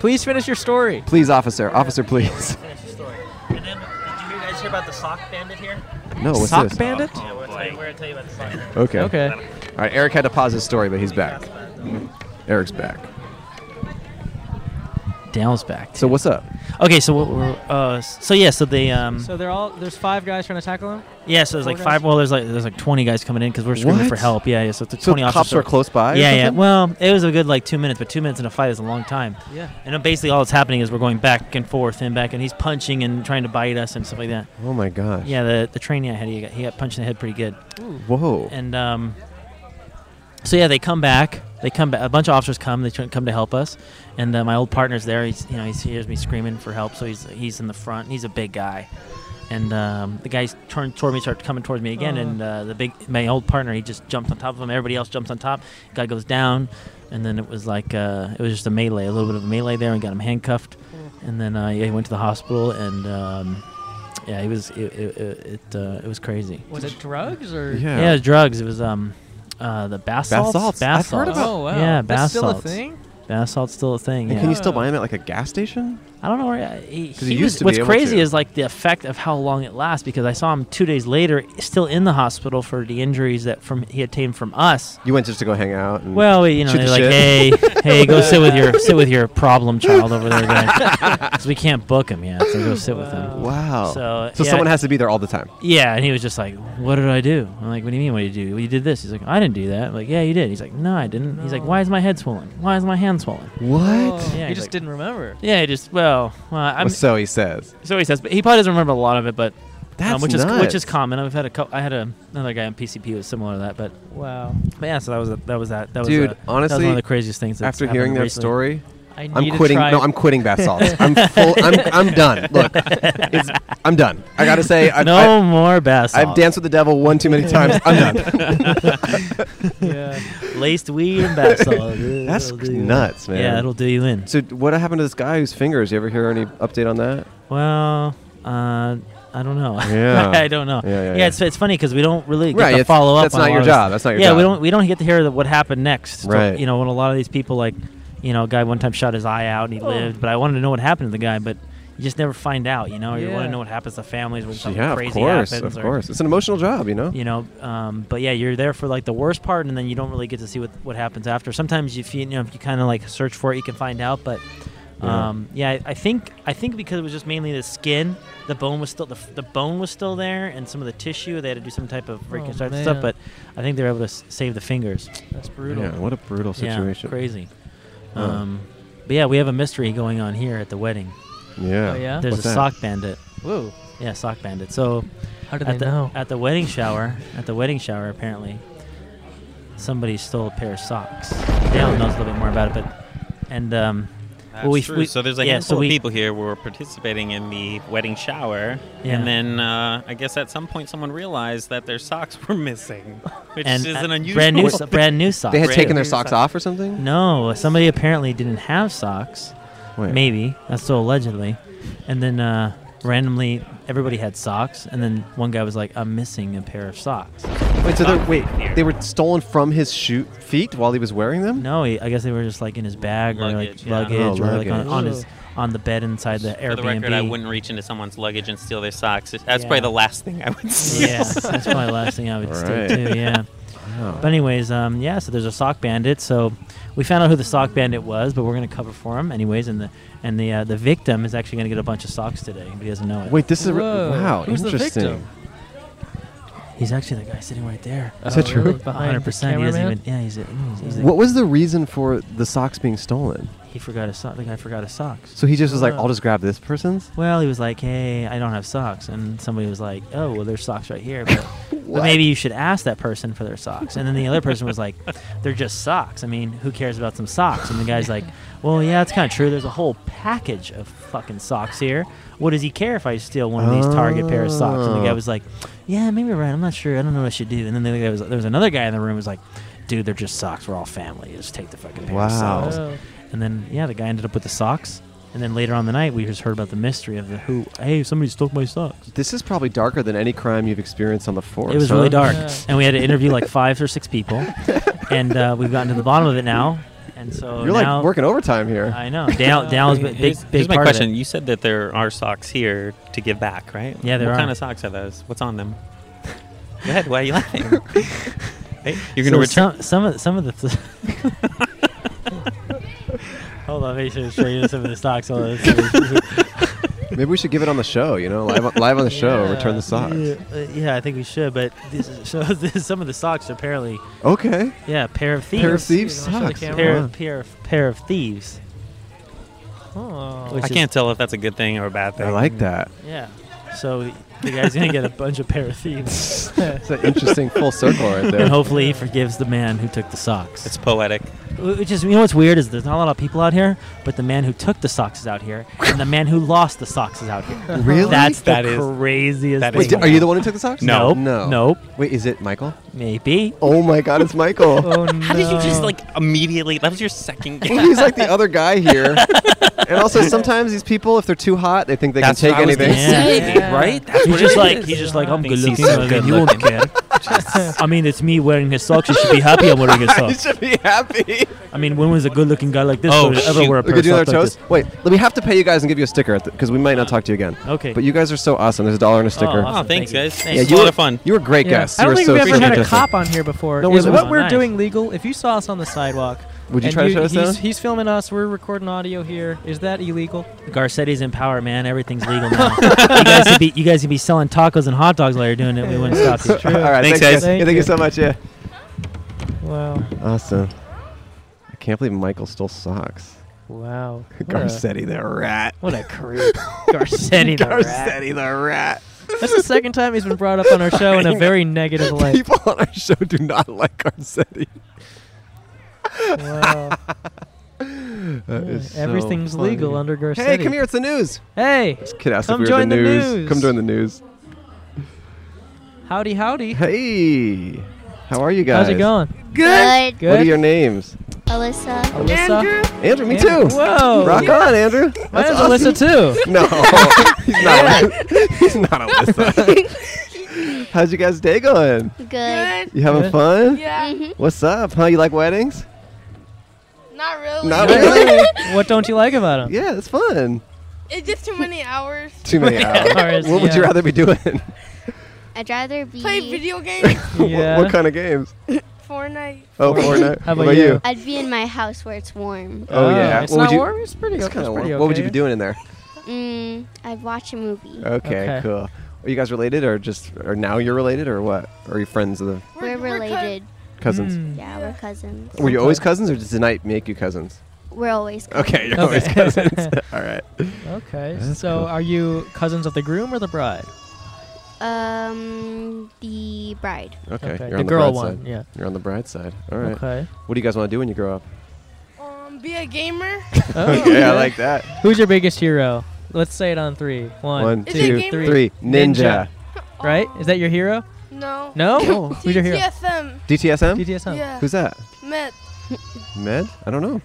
A: Please finish your story.
B: Please, officer. Officer, please.
H: Finish the story. And then, did you guys hear about the sock bandit here?
B: No, what's
A: Sock
B: this?
A: Bandit?
H: Yeah, we're going to tell you about the sock bandit.
B: Okay.
A: Okay.
B: All right, Eric had to pause his story, but he's back. Eric's back.
D: Dale's back.
B: Oh. So what's up?
D: Okay, so what we're uh, so yeah, so they um
A: So they're all there's five guys trying to tackle him.
D: yeah, so there's like
A: four
D: five.
A: guys?
D: Well, there's like there's like twenty guys coming in because we're screaming
B: What?
D: for help. Yeah, yeah. So it's like
B: So
D: twenty
B: the cops
D: officers.
B: were close by. or
D: Yeah, yeah.
B: something?
D: Well, it was a good like two minutes, but two minutes in a fight is a long time.
A: Yeah.
D: And then basically all that's happening is we're going back and forth and back, and he's punching and trying to bite us and stuff like that.
B: Oh my gosh.
D: Yeah, the the trainee I had, he got, he got punched in the head pretty good.
B: Whoa.
D: And um, so yeah, they come back. They come back. A bunch of officers come. They try come to help us. And uh, my old partner's there. He's you know he's, he hears me screaming for help. So he's he's in the front. and He's a big guy. And um, the guys turned toward me, started coming towards me again.
A: Uh.
D: And uh, the big my old partner, he just jumped on top of him. Everybody else jumps on top. Guy goes down. And then it was like uh, it was just a melee, a little bit of a melee there, and got him handcuffed. And then uh, yeah, he went to the hospital, and um, yeah, he was it it, it, it, uh, it was crazy.
A: Was it drugs or?
B: yeah.
D: Yeah, it was drugs. It was um, uh, the bath salts.
B: salts.
D: Bath
B: I've heard
D: salts.
B: about-
A: Oh wow.
D: Yeah, bath
A: That's still a
D: salts.
A: thing.
D: Bath salts still a thing.
B: And
D: Yeah.
B: can you still buy them at like a gas station?
D: I don't know where I- he,
B: 'Cause he
D: was-
B: used to be
D: What's
B: able
D: crazy
B: to.
D: is like the effect of how long it lasts because I saw him two days later, still in the hospital for the injuries that from he obtained from us.
B: You went just to go hang out. And
D: Well, you know,
B: Shoot
D: they're
B: the
D: like, hey, hey, go sit with your sit with your problem child over there, because we can't book him yet. So go sit with him.
B: Wow.
D: So,
B: Oh. so
D: yeah.
B: someone has to be there all the time.
D: Yeah, and he was just like, "What did I do?" I'm like, "What do you mean? What did you do? Well, you did this." He's like, "I didn't do that." I'm like, "Yeah, you did." He's like, "No, I didn't." He's like,
A: No.
D: "Why is my head swollen? Why is my hand swollen?"
B: What?
A: Oh,
D: Yeah,
A: you
D: he's
A: just
D: like-
A: didn't remember.
D: Yeah, he just well, well
B: Well,
D: I'm
B: so he says.
D: so he says, but he probably doesn't remember a lot of it, but
B: That's
D: um, which is which
B: nuts.
D: is common. I've had a couple, I had a, another guy on PCP who was similar to that, but,
A: Wow.
D: but yeah, so that was a, that was that that
B: Dude,
D: was a, that was
B: honestly,
D: one of the craziest things. That's
B: After hearing
D: happened
B: their
D: recently.
B: story,
A: I need
B: I'm
A: to
B: quitting.
A: try
B: No, I'm quitting bath salts. I'm full. I'm, I'm done. Look, it's, I'm done. I gotta say, I,
D: no more bass.
B: I, I've danced with the devil one too many times. I'm done.
A: yeah.
D: laced weed and bath salts.
B: That's
D: It'll do you in.
B: nuts, man.
D: Yeah, it'll do you in.
B: So what happened to this guy whose fingers? You ever hear any update on that?
D: Well, uh, I don't know.
B: Yeah.
D: I don't know.
B: Yeah, yeah, yeah.
D: It's, it's funny because we don't really get
B: Right,
D: to
B: it's-
D: follow up.
B: that's
D: on a
B: not
D: lot
B: your
D: of this-
B: job, that's not your
D: yeah, we
B: job.
D: don't we don't get to hear that what happened next. So,
B: Right.
D: you know, when a lot of these people like, you know, a guy one time shot his eye out and he lived, but I wanted to know what happened to the guy, but you just never find out. You know, you want
A: Yeah.
D: to know what happens to families when something
B: yeah,
D: crazy
B: of course,
D: happens.
B: of
D: or-
B: course. It's an emotional job, you know.
D: you know um, but yeah you're there for like the worst part and then you don't really get to see what, what happens after sometimes if you, you know if you kind of like search for it you can find out but
B: Yeah.
D: um, yeah, I, I think I think because it was just mainly the skin the bone was still the, f- the bone was still there and some of the tissue they had to do some type of reconstruction
A: man.
D: stuff but I think they were able to s- save the fingers
A: That's brutal.
B: Yeah, what a brutal
D: yeah
B: situation.
D: crazy
B: Huh.
D: um, but yeah we have a mystery going on here at the wedding
B: Yeah.
A: Oh, yeah?
D: there's
B: What's
D: a
B: that?
D: sock bandit
A: Whoa.
D: yeah sock bandit so
A: How do they
D: at the,
A: know?
D: at the wedding shower, at the wedding shower, apparently, somebody stole a pair of socks. Dale knows a little bit more about it, but and um,
E: That's
D: well, we,
E: true.
D: we-
E: so there's a
D: yeah,
E: handful
D: so we,
E: of people here who are participating in the wedding shower,
D: Yeah.
E: and then uh, I guess at some point someone realized that their socks were missing, which
D: and
E: is
D: uh,
E: an unusual.
D: brand new, so- brand new socks.
B: They had
E: Brand
B: taken their
E: new
B: socks
E: sock.
B: off or something.
D: no, somebody apparently didn't have socks.
B: Wait.
D: Maybe that's so allegedly, and then uh, randomly everybody had socks, and then one guy was like, "I'm missing a pair of socks."
B: Wait, so they're, wait,
E: here.
B: they were stolen from his shoe feet while he was wearing them?
D: No, Oh, he, I guess they were just like in his bag
E: Luggage,
D: or
E: yeah.
D: like
B: Oh,
D: luggage or like on,
B: luggage.
D: on his on the bed inside the
E: For
D: Airbnb.
E: the record, I wouldn't reach into someone's luggage and steal their socks. That's probably
D: Yeah.
E: the last thing I would see.
D: yeah, that's probably the last thing I would
B: All
D: steal
B: right.
D: too. Yeah. But anyways, um, yeah. So there's a sock bandit. So we found out who the sock bandit was, but we're gonna cover for him anyways. And the and the uh, the victim is actually gonna get a bunch of socks today. But he doesn't know it.
B: Wait, this is a, re-
A: Whoa.
B: wow,
A: Who's the
B: interesting.
A: victim?
D: he's actually the guy sitting right there.
B: Is that true?
A: really? Oh, Behind the
D: 100%. He doesn't
A: cameraman?
D: even. Yeah, he's. A, he's, he's a-
B: What was the reason for the socks being stolen?
D: He forgot his sock. The guy forgot his socks.
B: So he just was like,
A: Uh.
B: I'll just grab this person's.
D: Well, he was like, "Hey, I don't have socks," and somebody was like, "Oh, well, there's socks right here, but, but maybe you should ask that person for their socks." And then the other person was like, "They're just socks. I mean, who cares about some socks?" And the guy's like, "Well, yeah, it's kind of true. There's a whole package of fucking socks here. What does he care if I steal one of these Target pair of socks?" And the guy
B: Oh.
D: was like, "Yeah, maybe you're right. I'm not sure. I don't know what I should do." And then the other guy was, there was another guy in the room who was like, "Dude, they're just socks. We're all family. Just take the fucking pair of
B: Wow.
D: socks."
A: Oh.
D: And then yeah, the guy ended up with the socks. And then later on the night, we just heard about the mystery of the who. Hey, somebody stole my socks.
B: This is probably darker than any crime you've experienced on the force.
D: It was
B: huh?
D: really dark,
A: Yeah.
D: and we had to interview like five or six people, and uh, we've gotten to the bottom of it now. And so
B: You're
D: now-
B: like working overtime here.
D: I know. Dale, Dale's big, big,
E: here's,
D: big
E: here's my
D: part of it.
E: question. You said that there are socks here to give back, right?
D: Yeah, there
E: what
D: are.
E: kind of socks are those? What's on them? Go ahead. Why are you laughing? Hey, you're gonna
D: So
E: return.
D: some, some of the, some of the. Hold on, make sure to show you some of the socks. Hold on, let's see.
B: Maybe we should give it on the show, you know, live, on- live on the show, return the socks.
D: Yeah, uh, yeah, I think we should. But this is, so this, some of the socks apparently,
B: Okay.
D: yeah, a pair of thieves.
B: Pair of thieves
A: you know, show the
B: socks.
A: camera.
D: pair
B: Wow.
D: of, pair of, pair of thieves.
A: Oh.
D: Which
E: I
D: is-
E: can't tell if that's a good thing or a bad thing.
B: I like that.
D: Yeah. So the guy's gonna get a bunch of pair of thieves,
B: It's an interesting full circle right
D: and
B: there.
D: hopefully he forgives the man who took the socks.
E: It's poetic.
D: Which is, you know, what's weird is there's not a lot of people out here, but the man who took the socks is out here, and the man who lost the socks is out here.
B: Really?
D: That's the
E: That is-
D: craziest.
E: that is
B: Wait,
D: thing.
B: di- are you the one who took the socks?
E: No.
B: No.
D: Nope. Nope.
B: Wait, is it Michael?
D: Maybe.
B: Oh my God, it's Michael.
A: Oh, no.
E: How did you just like immediately? That was your second
B: Well,
E: guess.
B: he's like the other guy here. and also, sometimes these people, if they're too hot, they think they
E: That's
B: can
E: what I
B: take
E: was
B: anything.
E: gonna say, dude,
A: Yeah.
E: right? That's
D: He's
E: what
D: just
E: it
D: like
E: is.
D: he's just like I'm good
E: Thinks he's
D: looking.
E: so
D: I mean,
E: good
D: you won't care. I mean, it's me wearing his socks. You should be happy I'm wearing his socks.
B: should be happy.
D: I mean, when was a good-looking guy like this
E: Oh,
D: oh, ever
E: shoot.
D: wear a
B: We
D: pair
B: could
D: of
B: do another
D: socks like
B: toast. Wait, let me have to pay you guys and give you a sticker because we might not talk to you again.
D: this? Okay.
B: But you guys are so awesome. There's a dollar and a sticker.
D: awesome.
E: Oh, thanks,
D: Thank you.
E: guys.
D: Thanks.
E: It's
B: you
E: a lot
B: were-
E: of fun.
B: You were great
A: Yeah.
B: guests.
A: I
B: you
A: don't
B: were
A: think
B: so
A: we've ever had a
B: fantastic.
A: cop on here before.
B: No,
A: Is
B: we-
A: what
D: Oh,
A: we're
D: nice.
A: doing legal? If you saw us on the sidewalk,
B: Would you
A: and
B: try to shut us
A: he's,
B: down?
A: he's filming us. We're recording audio here. Is that illegal?
D: Garcetti's in power, man. Everything's legal now. you guys could be you guys could be selling tacos and hot dogs while you're doing it. We wouldn't stop you.
B: All right,
E: Thanks, guys.
A: Thank
B: Yeah, thank you
A: you.
B: so much. Yeah.
A: Wow.
B: Awesome. I can't believe Michael stole socks.
A: Wow.
B: Garcetti the rat.
A: What a creep. Garcetti the rat.
B: Garcetti the rat.
A: That's the second time he's been brought up on our show in a very negative light.
B: People on our show do not like Garcetti.
A: Wow.
B: is so
A: Everything's
B: funny.
A: legal under Garcetti.
B: Hey, come here! It's the news.
A: Hey,
B: This kid asked
A: Come
B: if we were the
A: join the
B: news.
A: news.
B: Come join the news.
A: howdy, howdy.
B: Hey, how are you guys?
A: How's it going?
I: Good.
A: Good.
B: What are your names?
I: Alyssa.
A: Alyssa.
B: Andrew, me
A: Andrew.
B: too.
A: Whoa.
B: Rock on, Andrew.
A: Mine
B: That's
A: is
B: awesome.
A: Alyssa too.
B: No, he's not. Alyssa. he's not Alyssa. How's your guys' day going?
I: Good.
B: You having
A: Good.
B: fun?
J: Yeah.
B: What's up? Huh? You like weddings?
J: Not really.
B: Not really.
A: what don't you like about him?
B: yeah, it's fun.
J: It's just too many hours.
B: Too many hours.
A: Hours,
B: what would you
A: yeah.
B: rather be doing?
I: I'd rather be.
J: Play video games.
B: what, what kind of games?
J: Fortnite.
A: Fortnite.
B: Oh, Fortnite.
A: How
B: What
A: about
B: about
A: you?
B: you?
I: I'd be in my house where it's warm.
B: Oh, yeah.
A: Uh, It's
B: What would
A: not
B: you-
A: warm. It's pretty.
B: It's
A: okay.
B: kind
A: It's
B: of
A: pretty
B: What would you be
A: okay.
B: doing in there?
I: Mm, I'd watch a movie.
B: Okay,
A: Okay.
B: cool. Are you guys related, or just, or now you're related, or what? Or are you friends of the
I: We're, related.
B: cousins?
A: Mm.
I: yeah, we're cousins.
B: Were you always cousins, or did tonight make you cousins?
I: We're always cousins.
B: Okay, you're always
A: Okay.
B: cousins. All right.
A: Okay.
B: That's
A: so,
B: cool.
A: are you cousins of the groom or the bride?
I: Um, the bride.
B: Okay,
A: uh, Okay,
B: you're
A: the
B: on the
A: girl
B: bride
A: one,
B: side.
A: yeah.
B: You're on the bride side. All right.
A: Okay.
B: What do you guys want to do when you grow up?
J: Um, be a gamer.
A: Oh,
B: okay, I like that.
A: Who's your biggest hero? Let's say it on three. One,
B: One,
J: Is it a
B: two,
J: game?
B: three.
A: Ninja.
B: Ninja.
A: Right? Is that your hero?
J: No.
A: No. Who's your hero?
J: TFM.
B: DTSM?
A: DTS. Huh?
J: Yeah.
B: Who's that?
J: Met.
B: Med? I don't know.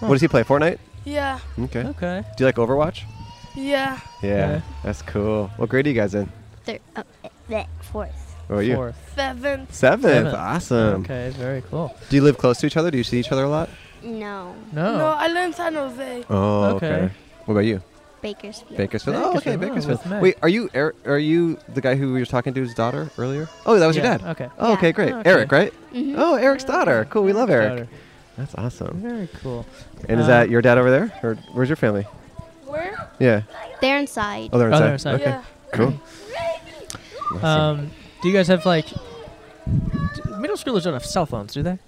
B: What does he play? Fortnite?
J: Yeah.
B: Okay. Do
A: Okay.
B: you like Overwatch?
J: Yeah.
B: Yeah.
A: Okay.
B: That's cool. What grade are you guys in?
I: Thir- uh, bleh, fourth.
B: What are you?
A: Fourth.
J: Seventh.
B: Seventh.
A: Seventh.
B: Awesome.
A: Okay. Very cool.
B: Do you live close to each other? Do you see each other a lot?
I: No,
A: No.
J: No, I live in San Jose.
B: Oh,
A: Okay.
B: okay. What about you?
I: Bakersfield.
B: Bakersfield. Oh,
A: Bakersfield.
B: okay,
A: Oh,
B: Bakersfield.
A: with Meg.
B: Wait, are you er- are you the guy who we were talking to his daughter earlier? Oh, that was
A: Yeah,
B: your dad.
A: Okay.
B: Oh, okay, great.
A: Okay.
B: Eric, right?
I: Mhm.
B: Oh, Eric's daughter. Cool. We love Eric.
A: Daughter.
B: That's awesome.
A: Very cool.
B: And is
A: Uh,
B: that your dad over there, or where's your family?
J: Where?
B: Yeah.
I: They're inside.
B: Oh, they're
A: Oh, they're
B: inside.
A: inside.
B: Okay.
J: Yeah.
B: Cool. Awesome.
A: Um, do you guys have like d- middle schoolers don't have cell phones, do they?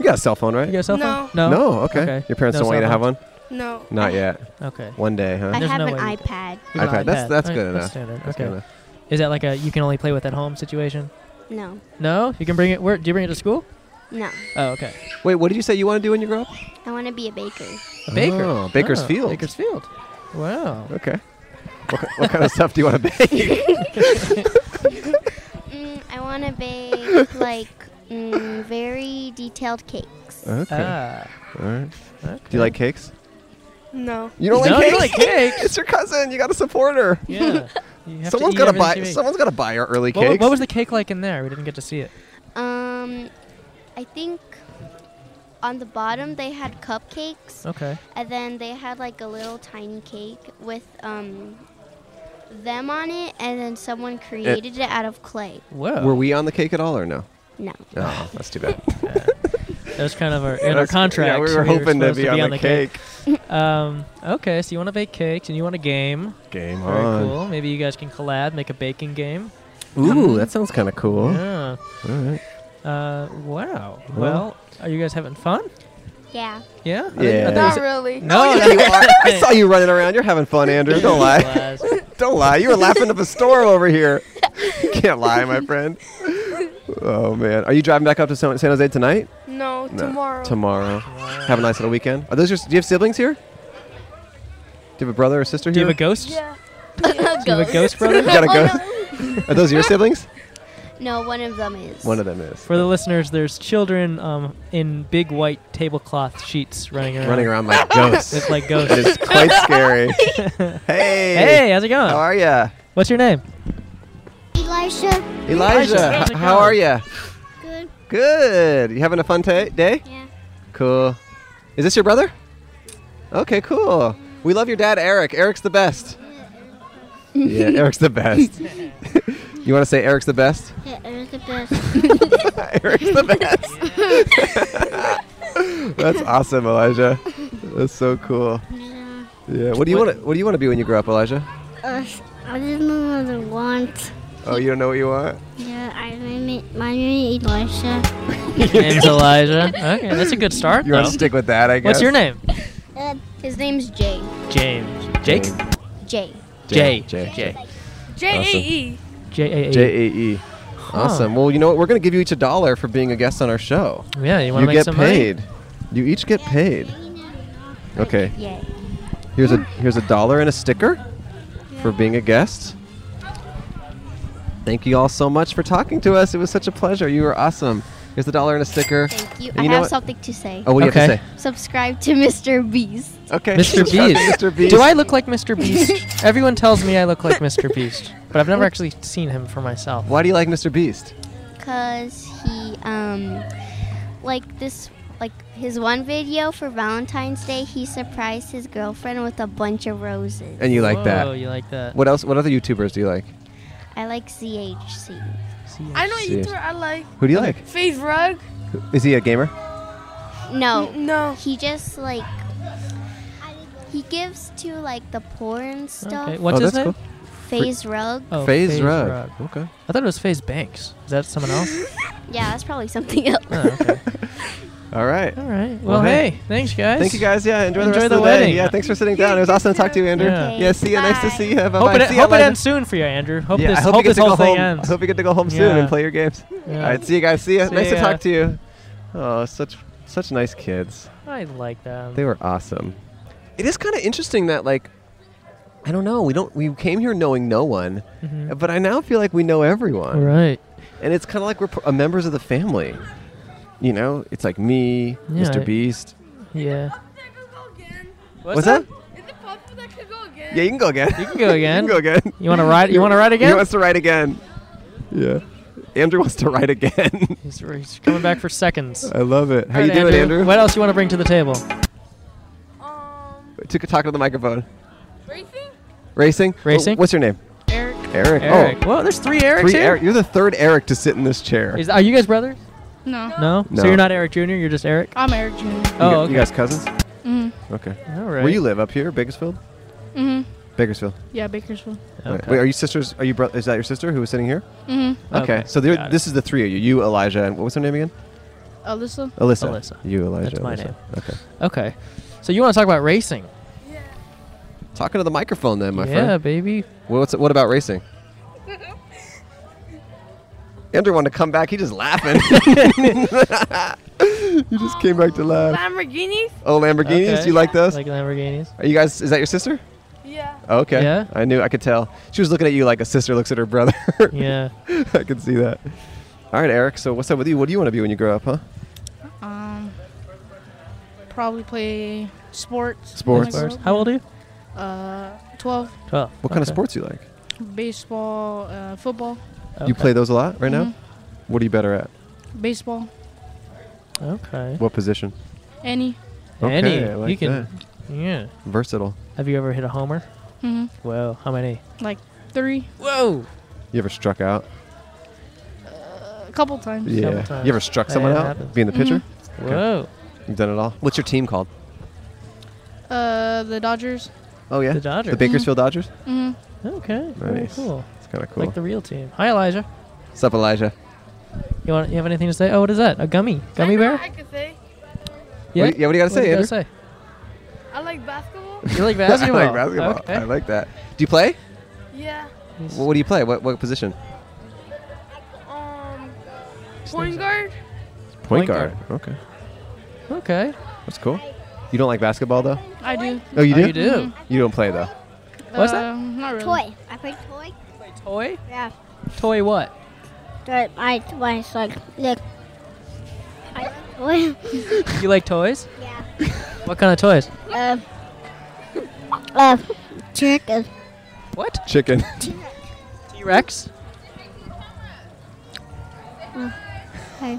B: you got a cell phone, right?
A: You got a cell
J: No.
A: phone? No.
B: No. Okay.
A: Okay.
B: Your parents
A: No
B: don't want you to
A: cell
B: have one.
J: No.
B: Not yet.
A: Okay.
B: One day, huh?
I: I
A: There's
I: have
A: no
I: an
A: way you can-
I: iPad.
A: You have an
B: iPad. That's- that's
A: Alright,
B: good enough.
A: standard.
B: That's
A: okay.
B: kinda-
A: Is that like a you can only play with at home situation?
I: No,
A: No, you can bring it. Where do you bring it to school?
I: no.
A: Oh, okay.
B: Wait, what did you say you want to do when you grow up?
I: I want to be a baker.
A: A baker.
B: Oh, Bakersfield.
A: Bakersfield. Wow.
B: Okay. what, ki- what kind of stuff do you want to bake?
I: Mm, I want to bake like mm, very detailed cakes.
B: okay.
A: Ah.
B: All right. Do you like cakes?
J: No.
B: You don't
A: No,
B: like
A: you
B: cakes?
A: like cakes.
B: it's your cousin. You got to support her.
A: Yeah. You have to
B: Someone's
A: eat
B: got to
A: everything
B: buy.
A: you eat.
B: Someone's got to buy her early
A: What, wa-
B: cakes.
A: what was the cake like in there? We didn't get to see it.
I: Um, I think on the bottom they had cupcakes,
A: Okay.
I: and then they had like a little tiny cake with um them on it, and then someone
B: Eh.
I: created it out of clay.
A: Whoa.
B: Were we on the cake at all or no?
I: No.
B: Oh, that's too bad.
A: That was kind of our in our
B: That's-
A: contract.
B: Yeah, we were hoping to
A: supposed
B: be, on, the cake.
A: Um, okay, so you want to bake cakes and you want a game.
B: Game
A: Very cool. Maybe you guys can collab, make a baking game.
B: Ooh, that sounds kind of cool.
A: Yeah.
B: All right.
A: Uh, wow.
B: Well.
A: Well, are you guys having fun?
I: Yeah.
A: Yeah.
B: Yeah.
J: Not really.
A: No.
B: Oh, Yeah, you are. I saw you running around. You're having fun, Andrew. Don't lie.
A: Lies.
B: Don't lie. You were laughing up a storm over here. You can't lie, my friend. Oh man, are you driving back up to San San Jose tonight?
J: No.
B: No.
J: Tomorrow.
B: Tomorrow. Have a nice little weekend. Are those your? Do you have siblings here? Do you have a brother or sister
A: Do you
B: here?
A: have a ghost?
J: Yeah.
A: Do you have a ghost brother?
B: You gotta go. Are those your siblings?
I: Oh, No, one of them is.
B: One of them is
A: For the listeners, there's children um, in big white tablecloth sheets running around.
B: running around like ghosts.
A: Look like
B: That
A: ghosts.
B: is quite scary. hey.
A: hey, how's it going?
B: How are ya?
A: What's your name?
I: Elisha.
B: Elijah,
A: how's it
B: h- how are
A: going?
B: ya?
I: Good.
B: Good. You having a fun ta day?
I: Yeah.
B: Cool. Is this your brother? Okay, cool. We love your dad, Eric. Eric's the best. yeah, Eric's the best. you want to say Eric's the best?
I: Yeah, Eric's the best.
B: Eric's the best. That's awesome, Elijah. That's so cool.
I: yeah.
B: Yeah. What do you want to What do you want to be when you grow up, Elijah?
I: Uh, I didn't know what I want.
B: Oh, you don't know what you want?
I: Yeah, I name it. My name is Elisha.
A: name's Elijah. Okay, that's a good start.
B: You want
A: though.
B: to stick with that, I guess.
A: What's your name?
I: Uh, his name's Jay.
A: James. Jake.
I: Jay.
B: Jay.
A: Jay. Jay.
J: J A E.
A: J A A.
B: J A E. Awesome. Well, you know what? We're going to give you each a dollar for being a guest on our show.
A: Yeah, you want to
B: you
A: make
B: get
A: some
B: paid. You each get paid. Okay.
I: Yeah.
B: Here's a here's a dollar and a sticker for being a guest. Thank you all so much for talking to us. It was such a pleasure. You were awesome. Here's the dollar and a sticker.
I: Thank you.
B: And
I: I
B: know
I: have
B: what?
I: something to say.
B: Oh, what do you have to
A: Okay.
B: say?
I: Subscribe to Mr. Beast.
B: Okay.
A: Mr.
B: Shout out to
A: Beast.
B: Mr. Beast.
A: Do I look like Mr. Beast? Everyone tells me I look like Mr. Beast, but I've never actually seen him for myself.
B: Why do you like Mr. Beast?
I: Cause he um, like this like his one video for Valentine's Day, he surprised his girlfriend with a bunch of roses.
B: And you like
A: Oh,
B: that?
A: you like that?
B: What else? What other YouTubers do you like?
I: I like ZHC.
J: I know you
B: Serious.
J: throw. I like
B: Who do you like?
J: Faith Rug.
B: Is he a gamer?
I: No,
J: N- No.
I: he just like he gives to like the poor and stuff.
A: Okay. What's
B: oh,
A: his
B: that's
A: name?
B: cool.
I: Phase rug.
A: Oh,
B: Phase
A: FaZe
B: Rug.
A: Rug.
B: Okay.
A: I thought it was Phase Banks. Is that someone else?
I: Yeah, that's probably something else.
A: oh, okay.
B: All right.
A: All right.
B: Well,
A: Well,
B: hey.
A: hey. thanks, guys.
B: Thank you guys. Yeah, enjoy, the
A: Enjoy
B: rest
A: the
B: of the day.
A: wedding.
B: Yeah, thanks for sitting down. It was awesome to talk to you, Andrew.
A: Yeah.
B: Yeah, see you. Nice to
I: Bye.
B: see you. Bye
A: Hope
B: bye.
A: it,
B: See ya,
A: hope it
B: Elijah.
A: ends soon for you, Andrew. Hope
B: Yeah,
A: this,
B: I hope,
A: hope
B: you get
A: this
B: to go
A: whole thing
B: home. I
A: ends.
B: hope you get to go home soon
A: Yeah.
B: and play your games.
A: Yeah.
B: All right, see you guys. See ya.
A: See
B: nice to
A: ya.
B: talk to you. Oh, such such nice kids.
A: I like them.
B: They were awesome. It is kind of interesting that like I don't know. We don't we came here knowing no one, but I now feel like we know everyone.
A: All Mm-hmm. right.
B: And it's kind of like we're p- uh, members of the family. You know, it's like me,
A: Yeah,
B: Mr.
A: I-
B: Beast.
A: Yeah.
B: What's, that? Yeah, you can go again.
A: You can go again.
B: you can go again.
A: You want to ride? You want to ride again?
B: He wants to ride again. Yeah. Andrew wants to ride again.
A: he's, he's coming back for seconds.
B: I love it. How
A: All
B: you
A: right,
B: doing, Andrew?
A: What else you want to bring to the table?
J: Um,
B: Took a talk to the microphone.
J: racing.
B: Racing? Oh,
A: Racing?
B: what's your name?
J: Eric.
B: Eric.
A: Eric.
B: Oh,
A: Whoa, there's three Erics
B: three
A: here.
B: Eric. You're the third Eric to sit in this chair.
A: Is, are you guys brothers?
J: No.
A: No?
B: No.
A: So you're not Eric Jr. You're just Eric.
J: I'm Eric Jr.
B: You gu-
A: Oh, okay.
B: You guys cousins?
J: Mm.
B: Okay.
A: All right.
B: Where you live? Up here, Bakersfield?
J: Mhm.
B: Bakersfield.
J: Yeah, Bakersfield.
B: All right.
A: Okay.
B: Wait, are you sisters? Are you bro- is that your sister who was sitting here?
J: Mhm.
B: Okay.
A: Okay,
B: So there,
A: got it.
B: this is the three of you. You, Elijah, and what was her name again?
J: Alyssa.
B: Alyssa.
A: Alyssa.
B: You, Elijah.
A: That's my
B: Alyssa.
A: name. Oh.
B: Okay.
A: Okay. So you want to talk about racing?
B: Talking to the microphone then, my
A: yeah,
B: friend.
A: baby.
B: What's what about racing? Andrew wanted to come back. He just laughing. he just came back to laugh.
J: Lamborghinis.
B: Oh, Lamborghinis.
A: Okay.
B: You like those?
A: Like Lamborghinis.
B: Are you guys? Is that your sister?
J: Yeah.
B: Okay.
A: Yeah.
B: I knew. I could tell. She was looking at you like a sister looks at her brother.
A: Yeah.
B: I could see that. All right, Eric. So what's up with you? What do you want to be when you grow up, huh?
J: Um, probably play sports.
B: Sports.
J: Like,
A: How old are you?
J: Uh, twelve.
A: Twelve.
B: What kind of
A: Okay.
B: sports you like?
J: Baseball. Uh, football.
B: You
A: Okay. Mm-hmm.
B: play those a lot right now.
J: Mhm.
B: What are you better at?
J: Mm-hmm. Baseball.
A: Okay.
B: What position?
J: Any.
A: Any.
B: Okay, I like
A: you can.
B: that.
A: Yeah.
B: Versatile.
A: Have you ever hit a homer?
J: Mhm.
A: Whoa. How many?
J: Like three.
A: Whoa.
B: You ever struck out?
J: A couple times. Mm-hmm.
B: Yeah.
A: times.
B: You ever struck
A: That
B: someone out?
A: happens. Mm-hmm.
B: Being the pitcher?
A: Whoa.
B: You've done it all. What's your team called?
J: Uh, the Dodgers.
B: Oh yeah,
A: The Dodgers.
B: the Bakersfield Dodgers.
J: hmm
A: Okay. very
B: Nice.
A: Cool.
B: It's kind of cool.
A: Like the real team. Hi, Elijah.
B: What's up, Elijah?
A: You want? You have anything to say? Oh, what is that? A gummy? Gummy bear?
J: I could say.
B: What do you- yeah, what do you gotta say,
A: do
B: Andrew?
A: say?
J: I like basketball.
A: You like
B: I like
A: basketball?
B: basketball.
A: Okay.
B: I like that. Do you play?
J: yeah.
A: He's-
B: Wh- What do you play? What what position?
J: Um, point guard.
B: Point
A: Point
B: guard.
A: guard.
B: Okay,
A: Okay.
B: that's cool. You don't like basketball though?
J: I do. Mm-hmm.
B: Oh, you
A: Oh,
B: do.
A: you do.
B: You don't play though.
A: What's that?
J: Uh, Not really.
I: Toy. I play toy.
A: Toy?
I: Yeah.
A: Toy what?
I: But I was like, look. I toy.
A: You like toys?
I: Yeah.
A: What kind of toys?
I: Um. Uh, chicken.
A: What?
B: Chicken.
A: T Rex?
I: Hey.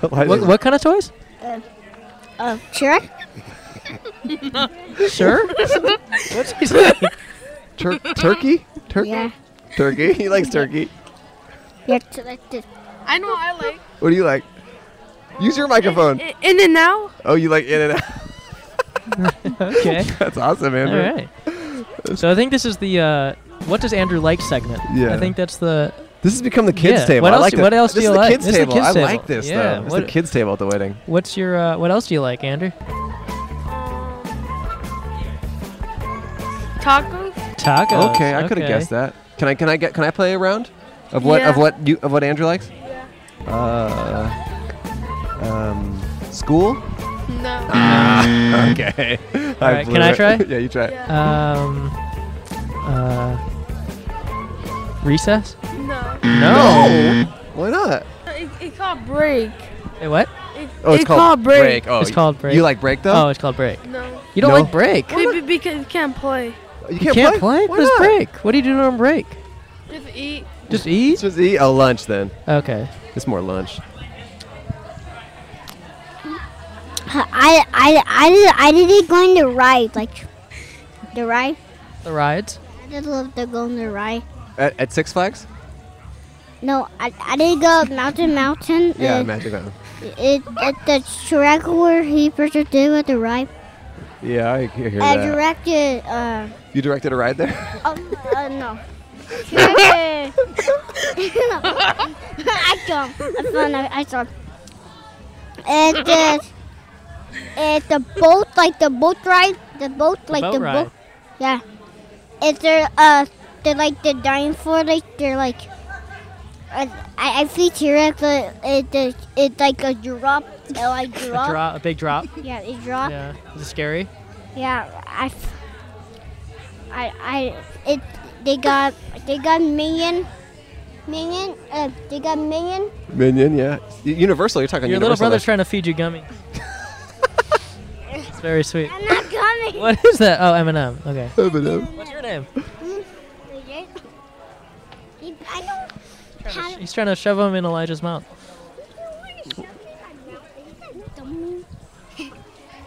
A: What,
B: Elijah's-
A: what kind of toys?
I: Uh, chicken.
A: Sure. What's he say?
B: Tur- turkey? Turkey?
I: Yeah.
B: Turkey. He likes turkey.
I: Yeah, chicken.
J: I know. I like.
B: What do you like? Use your microphone.
J: In, in and out.
B: Oh, you like in and out.
A: Okay.
B: That's awesome,
A: All
B: Andrew.
A: right. So I think this is the uh, what does Andrew like segment.
B: Yeah.
A: I think that's the
B: This has become the kids'
A: Yeah,
B: table.
A: what
B: I
A: else
B: like
A: do-
B: this.
A: what else do
B: this
A: you
B: is the
A: like?
B: Kids
A: This is the
B: table.
A: kids
B: I
A: table.
B: like this
A: Yeah,
B: though. It's the
A: what-
B: kids' table at the wedding.
A: what's your uh, what else do you like, Andrew?
J: Tacos.
A: Tacos.
B: Okay, I could have guessed that. Can I? Can I get? Can I play a round of what of
J: Yeah.
B: what you of what Andrew likes? Yeah. Uh, um, school.
J: No.
B: Ah, okay.
A: All right,
B: blew
A: can I
B: it.
A: try?
B: yeah, you try. it.
A: Um, uh, recess?
J: No.
B: No. Why not?
J: It, it's called break.
A: Hey, what?
J: It,
B: Oh, it's, called,
J: break.
B: Oh,
A: it's
B: y-
A: called break.
B: You like break though?
A: Oh, it's called break.
J: No.
A: You don't
B: No.
A: like break?
J: Maybe because you can't play.
B: you
A: You
B: can't,
A: can't play?
B: Why
A: What is
B: not?
A: break? What do you do on break?
J: Just eat.
A: Just eat?
B: Just eat a lunch then.
A: Okay.
B: It's more lunch.
I: I I I did I didn't going to ride like the ride.
A: The rides?
I: I did love to go on the ride.
B: At, at Six Flags?
I: No, I, I did go up mountain mountain.
B: Yeah,
I: uh,
B: Magic Mountain.
I: It, at the track where he first did with the ride.
B: Yeah, I hear
I: I
B: that.
I: directed. Uh,
B: you directed a ride there?
I: um, uh, no. Directed- No. I jumped. I found out. I jumped. And the and the boat, like the boat ride, the boat, like
A: boat
I: the
A: ride.
I: boat. Yeah. Is there uh, they're like the dinosaur, like they're like. uh, I, I see T-Rex, uh, it, it, it's like a drop, uh, like
A: A,
I: drop.
A: drop, a big drop?
I: Yeah, it dropped.
A: yeah. Is it scary?
I: Yeah, I, f- I, I, it. They got, they got minion, minion. Uh, they got minion.
B: Minion, yeah. U- Universal, you're talking
A: Your little
B: Universal.
A: brother's trying to feed you gummy. it's very sweet.
I: I'm not coming.
A: What is that? Oh, M&M. Okay.
B: trying to.
A: What's your name?
I: I don't. How,
A: He's trying to shove him in Elijah's mouth.
I: dummy.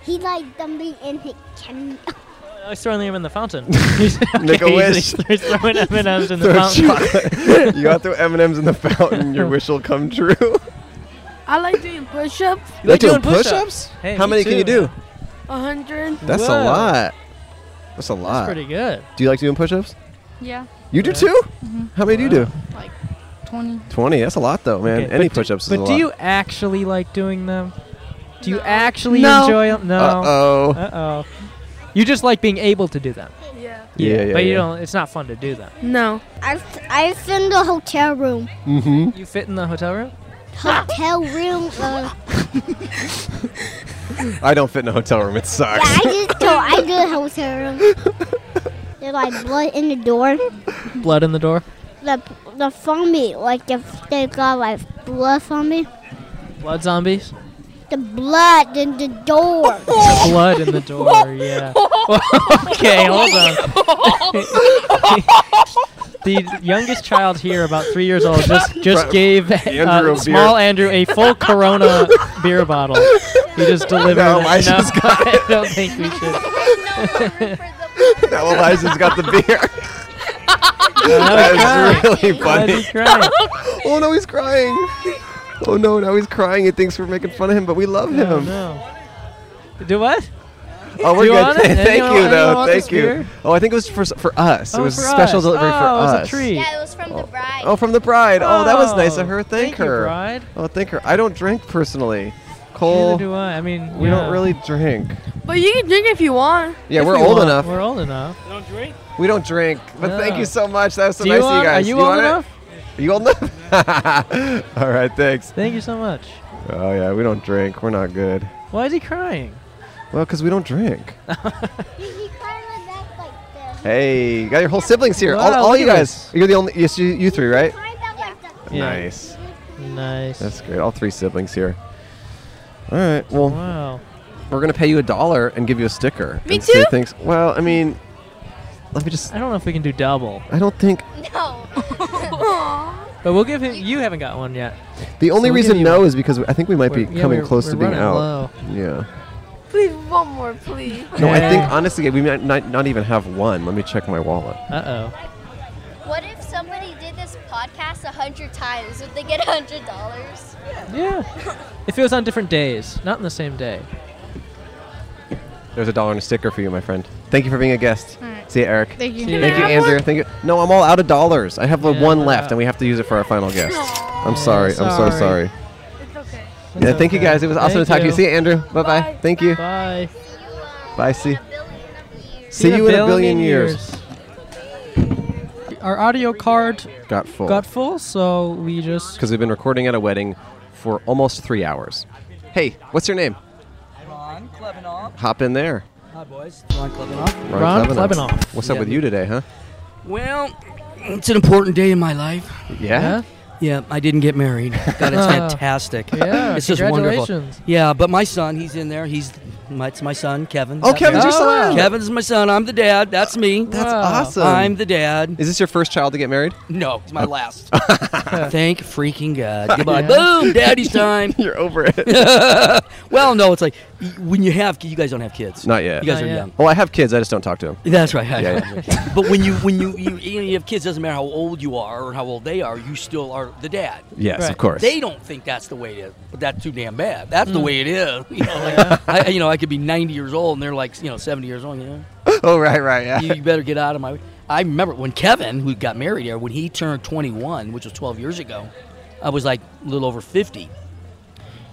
I: He like dumping in his can.
A: Oh, He's throwing him in the fountain.
B: Make a
A: Okay, he's- He's,
B: wish.
A: he's throwing M&Ms in the
B: Throw
A: fountain.
B: chocolate. you got through M and M's in the fountain. Your wish will come true. you
J: I like doing push-ups.
A: like doing push-ups? Hey,
B: How
A: me
B: many can
A: too,
B: you do?
A: man.
J: A hundred.
B: That's a
A: Whoa.
B: lot. That's a lot.
A: That's pretty good.
B: do you like doing push-ups?
J: Yeah.
B: You do
A: Yeah.
B: too.
I: Mm-hmm.
B: How many do you do?
J: Twenty.
B: Twenty. That's a lot though, man.
A: Okay,
B: Any
A: but do-
B: push-ups is a
A: But
B: lot.
A: do you actually like doing them? Do you
J: No.
A: actually
J: No.
A: enjoy them? No.
B: Uh oh.
A: Uh-oh. You just like being able to do them.
J: Yeah.
B: Yeah, yeah,
A: But you
B: yeah.
A: don't. It's not fun to do them.
J: No.
I: I I in the hotel room.
B: Mm-hmm.
A: You fit in the hotel room?
I: Hotel room. Uh,
B: I don't fit in a hotel room. It
I: yeah,
B: sucks.
I: I just go. I did hotel room. They're like blood in the door.
A: Blood in the door.
I: The the foamy, like if they got like blood foamy.
A: Blood zombies.
I: The blood in the door.
A: Blood in the door. Yeah. okay, hold on. the youngest child here, about three years old, just just
B: Bro,
A: gave
B: Andrew a
A: uh, small Andrew a full Corona beer bottle. He just delivered.
B: No,
A: it.
B: I just got
A: I don't think we should.
B: now Elijah's got the beer.
A: That
B: that was really
A: Why
B: funny.
A: is he crying?
B: Oh no, he's crying. Oh no, now he's crying. He thinks we're making fun of him, but we love
A: Oh,
B: him.
A: no. Do what?
B: Oh,
A: Do
B: we're
A: you
B: good.
A: want it?
B: Thank
A: Anyone-
B: you,
A: anyone
B: though.
A: want
B: Thank
A: this
B: you.
A: beer?
B: Oh, I think it was for for us. it
A: Oh,
B: was a
A: for
B: special
A: us.
B: delivery for
A: Oh, it was a
B: us.
A: treat.
I: yeah, it was from the bride.
B: Oh, from the bride. Oh, that was nice of her.
A: Oh,
B: Thank,
A: thank you,
B: her.
A: bride.
B: Oh, thank her. I don't drink personally.
A: Neither
B: Cole,
A: do I. I mean,
B: we
A: yeah.
B: don't really drink.
J: But you can drink if you want.
B: Yeah,
A: If
B: we're
A: we
B: old
A: want,
B: enough.
A: We're old enough.
H: Don't drink.
B: We don't drink. But thank
A: No.
B: you so much. That was so
A: Do
B: nice
A: you
B: of you
A: want,
B: guys.
A: are you,
B: want
A: old
B: it?
A: enough?
B: Are you old enough? All right, thanks.
A: Thank you so much.
B: Oh yeah, we don't drink. We're not good.
A: Why is he crying?
B: Well, because we don't drink.
I: He- he kind of back like this.
B: Hey, you got your whole siblings here. all
A: Wow,
B: all
A: look
B: you
A: at
B: guys. You're the only. Yes, you, you three, right?
I: Kind of back like this.
A: Yeah.
B: Nice.
A: Nice.
B: That's great. All three siblings here. All right. Well,
A: wow.
B: we're gonna pay you a dollar and give you a sticker.
J: Me
B: and say
J: too?
B: Thanks. Well, I mean, let me just.
A: I don't know if we can do double,
B: I don't think
I: No.
A: but we'll give him. You haven't got one yet.
B: the only
A: we'll give
B: reason
A: you
B: no is because I think we might
A: We're-
B: be
A: yeah,
B: coming
A: we're-
B: close
A: we're
B: to being
A: running
B: out.
A: low.
B: Yeah.
J: Please, one more, please.
B: No, I think
A: Yeah.
B: honestly we might not, not even have one. Let me check my wallet.
A: Uh oh.
K: What if somebody did this podcast a hundred times? Would they get a hundred dollars?
A: Yeah. if it was on different days, not on the same day.
B: There's a dollar and a sticker for you, my friend. Thank you for being a guest. See you, Eric.
J: Thank you.
A: Can
B: Thank
A: I
B: you,
J: have
B: Andrew. Thank you. No, I'm all out of dollars. I have the
A: Yeah,
B: one
A: we're
B: left,
A: out.
B: and we have to use it for our final guest. I'm sorry. I'm so
A: sorry.
B: sorry.
J: It's okay.
B: Yeah, thank you
A: okay.
B: guys. It was awesome
A: Thank
B: to talk to you.
A: you.
B: See you, Andrew. Bye bye.
J: Bye.
B: Thank you.
A: Bye.
B: Bye. See.
A: See
B: See you in a billion years.
A: Our audio card
B: Got full.
A: got full, so we just
B: Because we've been recording at a wedding for almost three hours. Hey, what's your name?
H: Ron.
L: Klebanoff.
B: Hop in there.
L: Hi, boys. Ron Klebanoff.
B: Ron Klebanoff. What's up with you today, huh?
L: Well, it's an important day in my life.
B: Yeah?
L: Yeah, I didn't get married. God, it's fantastic.
A: Yeah,
L: it's just wonderful.
A: congratulations.
L: Yeah, but my son, he's in there. He's my, it's my son, Kevin.
B: Oh, Kevin's your son.
L: Kevin's my son. I'm the dad. That's me.
B: That's awesome.
L: I'm the dad.
B: Is this your first child to get married?
L: No, it's my last.
B: Thank
L: freaking God. Goodbye.
B: Yeah.
L: Boom, daddy's time.
B: You're over
L: it. well, no, it's like y- when you have ki- you guys don't have kids.
B: Not yet.
L: You guys are young.
B: Well, I have kids. I just don't talk to them.
L: That's right.
B: Yeah, yeah.
L: but when you when you, you you know, you have kids, doesn't matter how old you are or how old they are, you still are the dad.
B: Yes, of Right. course.
L: They don't think that's the way it is, but that's too damn bad. That's the
B: Mm.
L: way it is. You know, like, I, you know, I could be 90 years old and they're like, you know, 70 years old. You know,
B: oh, right, right, yeah.
L: you, you better get out of my. I remember when Kevin, who got married here, when he turned 21, which was 12 years ago, I was like a little over 50,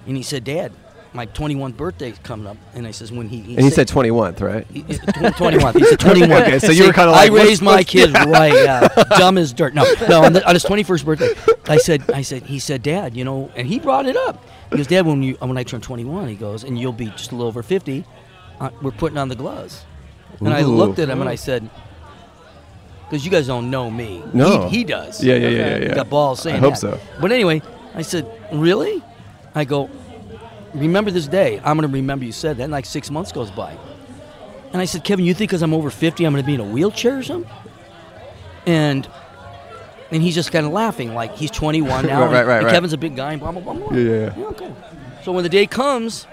L: and he said, "Dad." My 21th birthday's coming up, and I says when he,
B: And you said 21th, right?
L: he- he- tw- 21. He said 21.
B: Okay, so you were
L: See,
B: kind of
L: I
B: like what's-
L: raised my
B: what's-
L: kid
B: yeah.
L: right. Yeah, dumb as dirt. No, no. On, the, on his 21st birthday, I said, I said, he said, Dad, you know, and he brought it up. He goes, Dad, when you when I turn 21, he goes, and you'll be just a little over 50. Uh, we're putting on the gloves. And I
B: Ooh.
L: looked at him and I said, because you guys don't know me.
B: No.
L: he, he does.
B: Yeah, yeah, yeah, yeah, yeah.
L: Got balls
B: I
L: saying
B: hope
L: that.
B: so.
L: But anyway, I said, really? I go, remember this day. I'm going to remember you said that. And like six months goes by. And I said, Kevin, you think because I'm over 50, I'm going to be in a wheelchair or something? And and he's just kind of laughing, like he's 21 now.
B: Right,
L: and-
B: right, right,
L: and
B: right.
L: Kevin's a big guy, and blah, blah, blah, blah.
B: Yeah, yeah, yeah.
L: okay. So when the day comes,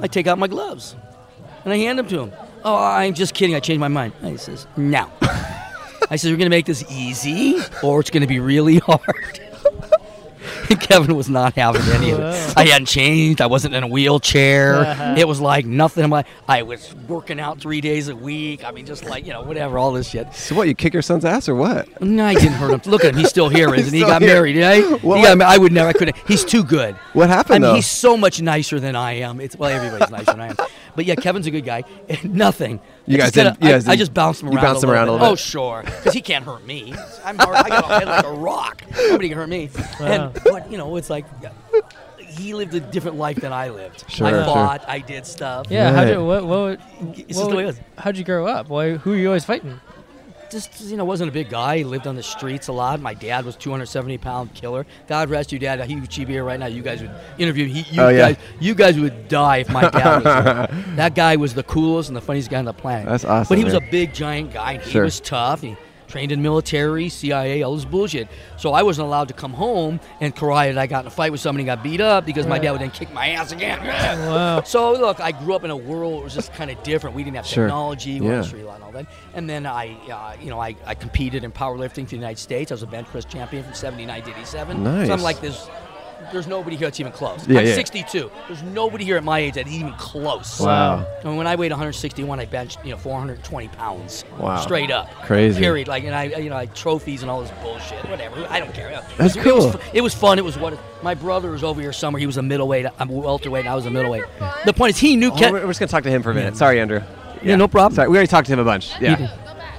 L: I take out my gloves and I hand them to him. Oh, I'm just kidding. I changed my mind. And he says, no. I said, we're going to make this easy or it's going to be really hard. And Kevin was not having any of
A: Wow.
L: it. I hadn't changed. I wasn't in a
B: Uh-huh.
L: wheelchair. it was like nothing. I'm like, I was working out three days a week. I mean, just like, you know, whatever, all this shit.
B: So what? You kick your son's ass or what?
L: No, I didn't hurt him. Look at him. He's still here,
B: He's
L: isn't he? He
B: still
L: got
B: here.
L: married, right?
B: Well,
L: he got, ma- I would never. I couldn't. He's too good.
B: What
L: I mean,
B: happened though?
L: he's so much nicer than I am. It's well, everybody's nicer than I am. But yeah, Kevin's a good guy. Nothing.
B: You
L: I
B: guys
L: just kinda-
B: didn't- you
L: I-
B: guys
L: I,
B: didn't-
L: just bounced him
B: you
L: around.
B: bounced him around a little
L: Oh
B: bit.
L: sure, because he can't hurt me. I'm hard. I got a head like a rock. Nobody can hurt me.
A: Wow.
L: And but you know, it's like. yeah, He lived a different life than I lived.
B: Sure,
L: I
B: sure.
L: fought. I did stuff.
A: Yeah, how'd you, what, what, would-
L: It's
A: what
L: just the way
A: would-
L: it is.
A: how'd you grow up? Why, who are you always fighting?
L: just you know wasn't a big guy. He lived on the streets a lot. My dad was 270 pound killer. God rest you, dad. He would be here right now. You guys would interview. He, you
B: Oh, yeah.
L: guys, you guys would die if my dad was here. That guy was the coolest and the funniest guy on the planet.
B: That's awesome,
L: But he was
B: man.
L: a big giant guy. and He
B: Sure.
L: was tough. He trained in military, CIA, all this bullshit. So I wasn't allowed to come home and karate. I got in a fight with somebody and got beat up because my
A: Right.
L: dad would then kick my ass again.
A: Wow.
L: So look, I grew up in a world where it was just kind of different. We didn't have
B: Sure.
L: technology. We
B: Yeah.
L: yeah. and all that. And then I, uh, you know, I, I competed in powerlifting for the United States. I was a bench press champion from 79 to 87. So
B: Nice.
L: I'm like, there's, there's nobody here that's even close.
B: Yeah,
L: I'm
B: yeah.
L: 62. There's nobody here at my age that's even close.
B: Wow.
L: And when I weighed 161, I benched, you know, 420 pounds.
B: Wow.
L: Straight up.
B: Crazy.
L: Period. Like, and I, you know, I trophies and all this bullshit. Whatever. I don't care.
B: That's
L: it was-
B: cool.
L: It was, fu- it was fun. It was what my brother was over here summer. He was a middleweight. I'm a welterweight. And I was a middleweight. The point is, he knew.
B: Oh,
L: Ken-
B: we're, we're just gonna talk to him for a minute. Sorry, Andrew.
L: Yeah, no problem.
B: Sorry, we already talked to him a bunch.
L: You
B: Yeah.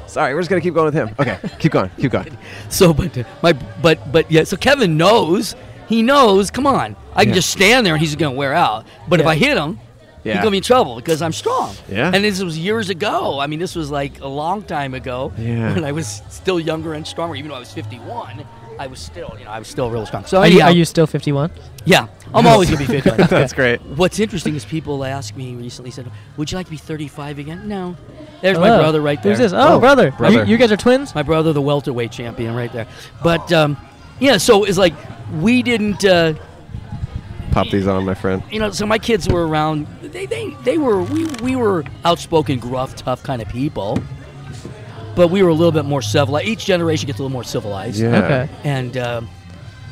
B: Sorry, we're just gonna keep going with him. Okay, keep going, keep going.
L: So, but uh, my, but but yeah. So Kevin knows. He knows. Come on, I can
B: Yeah.
L: just stand there and he's gonna wear out. But if
B: Yeah.
L: I hit him,
B: Yeah.
L: he's gonna be in trouble because I'm strong.
B: Yeah.
L: And this was years ago. I mean, this was like a long time ago.
B: Yeah.
L: When I was still younger and stronger, even though I was 51, I was still, you know, I was still real strong. So
A: Are you,
L: anyhow-
A: are you still 51?
L: yeah, I'm always gonna be 51.
A: That's
B: great.
L: What's interesting is people ask me recently said, "Would you like to be 35 again?" No. There's my
A: Hello.
L: brother right there.
A: Who's this? Oh, Oh, brother. brother. You- you guys are twins.
L: My brother, the welterweight champion, right there. But um, yeah, so it's like we didn't. Uh,
B: Pop these on, my friend.
L: you know, so my kids were around. They, they, they were we, we were outspoken, gruff, tough kind of people, but we were a little bit more civilized. Each generation gets a little more civilized.
B: Yeah. Okay.
L: And um,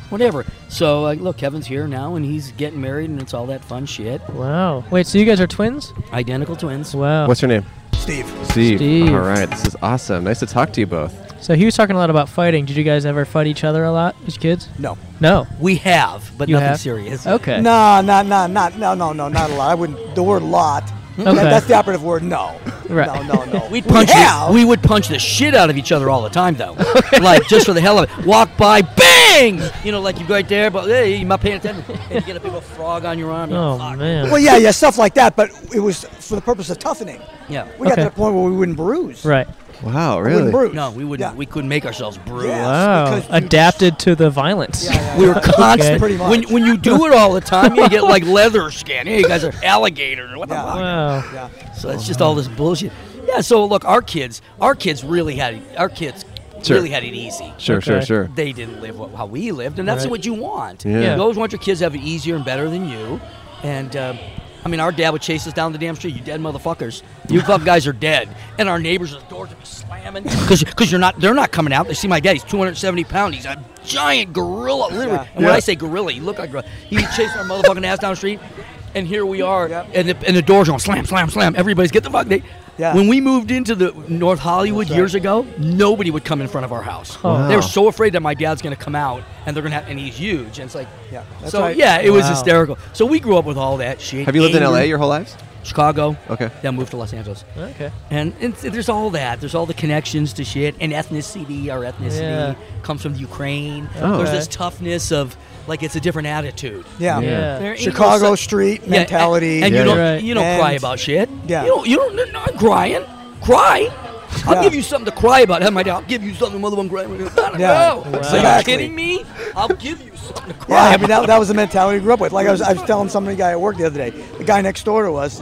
L: whatever. So uh, look, Kevin's here now, and he's getting married, and it's all that fun shit.
A: Wow. Wait, so you guys are twins?
L: Identical twins.
A: Wow.
B: What's your name?
L: Oh. Steve.
B: Steve.
A: Steve.
B: All right, this is awesome. Nice to talk to you both.
A: So he was talking a lot about fighting. Did you guys ever fight each other a lot as kids?
L: No.
A: No.
L: We have, but
A: You
L: nothing
A: have?
L: serious.
A: Okay.
L: No,
M: no, no, not no, no, no, not a lot. I wouldn't. The word "lot." that-
L: Okay.
M: that's the operative word. No.
L: Right.
M: No, no, no.
L: We'd punch
M: We
L: the-
M: have.
L: we would punch the shit out of each other all the time though. like just for the hell of it. Walk by, bang! bang! You know, like you go right there, but hey, you're not paying attention. And you get a big old frog on your arm. you're
D: Oh,
L: fucked.
D: man.
M: Well, yeah, yeah, stuff like that. But it was for the purpose of toughening.
L: Yeah.
M: We got to the point where we wouldn't bruise.
A: Right.
B: Wow,
M: wouldn't really? bruise.
L: No, we wouldn't. We couldn't make ourselves bruise.
A: Wow. Adapted to the violence.
L: We were constant.
A: Okay.
L: When, when you do it all the time, you get like leather skin. Hey, you guys are alligators. What the fuck?
A: Wow.
L: So it's just all this bullshit. Yeah. So look, our kids, our kids really had it- our kids
B: Sure.
L: really had it easy.
B: Sure, sure, Okay. sure.
L: They didn't live what, how we lived, and that's
B: Right.
L: what you want.
B: Yeah. Yeah.
L: You always want your kids to have it easier and better than you. And um, I mean, our dad would chase us down the damn street. You dead motherfuckers. You fuck guys are dead. And our neighbors' doors would be slamming because you're not. They're not coming out. They see my dad. He's 270 pounds. He's a giant gorilla, literally. And when
B: Yeah.
L: I say gorilla, he looked like gorilla. He chased our motherfucking ass down the street, and here we are, and, the, and the doors are going slam, slam, slam. Everybody's get the fuck. They,
M: Yeah.
L: When we moved into the North Hollywood years ago, nobody would come in front of our house.
M: Wow.
L: They were so afraid that my dad's going to come out, and they're going to have, and he's huge, and it's like,
M: Yeah, that's
L: so
M: right.
L: yeah, it was
M: Wow.
L: hysterical. So we grew up with all that shit.
B: Have you lived in
L: Anger.
B: LA your whole lives?
L: Chicago.
B: Okay.
L: Then moved to Los Angeles.
D: Okay.
L: And it's, there's all that. There's all the connections to shit. And ethnicity, our ethnicity comes from Ukraine.
M: Oh.
L: There's
M: Okay.
L: this toughness of, like, it's a different attitude.
M: Yeah.
L: They're
M: Yeah.
L: Anglo-
M: Chicago street
L: Yeah, a-
M: mentality.
L: And,
M: Yeah.
L: you don't,
M: Right.
L: you don't
M: And-
L: cry about shit.
M: Yeah.
L: You don't, you don't, you're not crying. Cry. I'll give you something to cry about. Have my dad. I'll give you something. Mother one crying. I
M: Yeah,
L: know. So you're
M: exactly.
L: kidding me? I'll give you something to
M: Yeah,
L: cry
M: I mean that,
L: about.
M: that was the mentality we grew up with. Like I was, I was telling somebody guy at work the other day. The guy next door to us,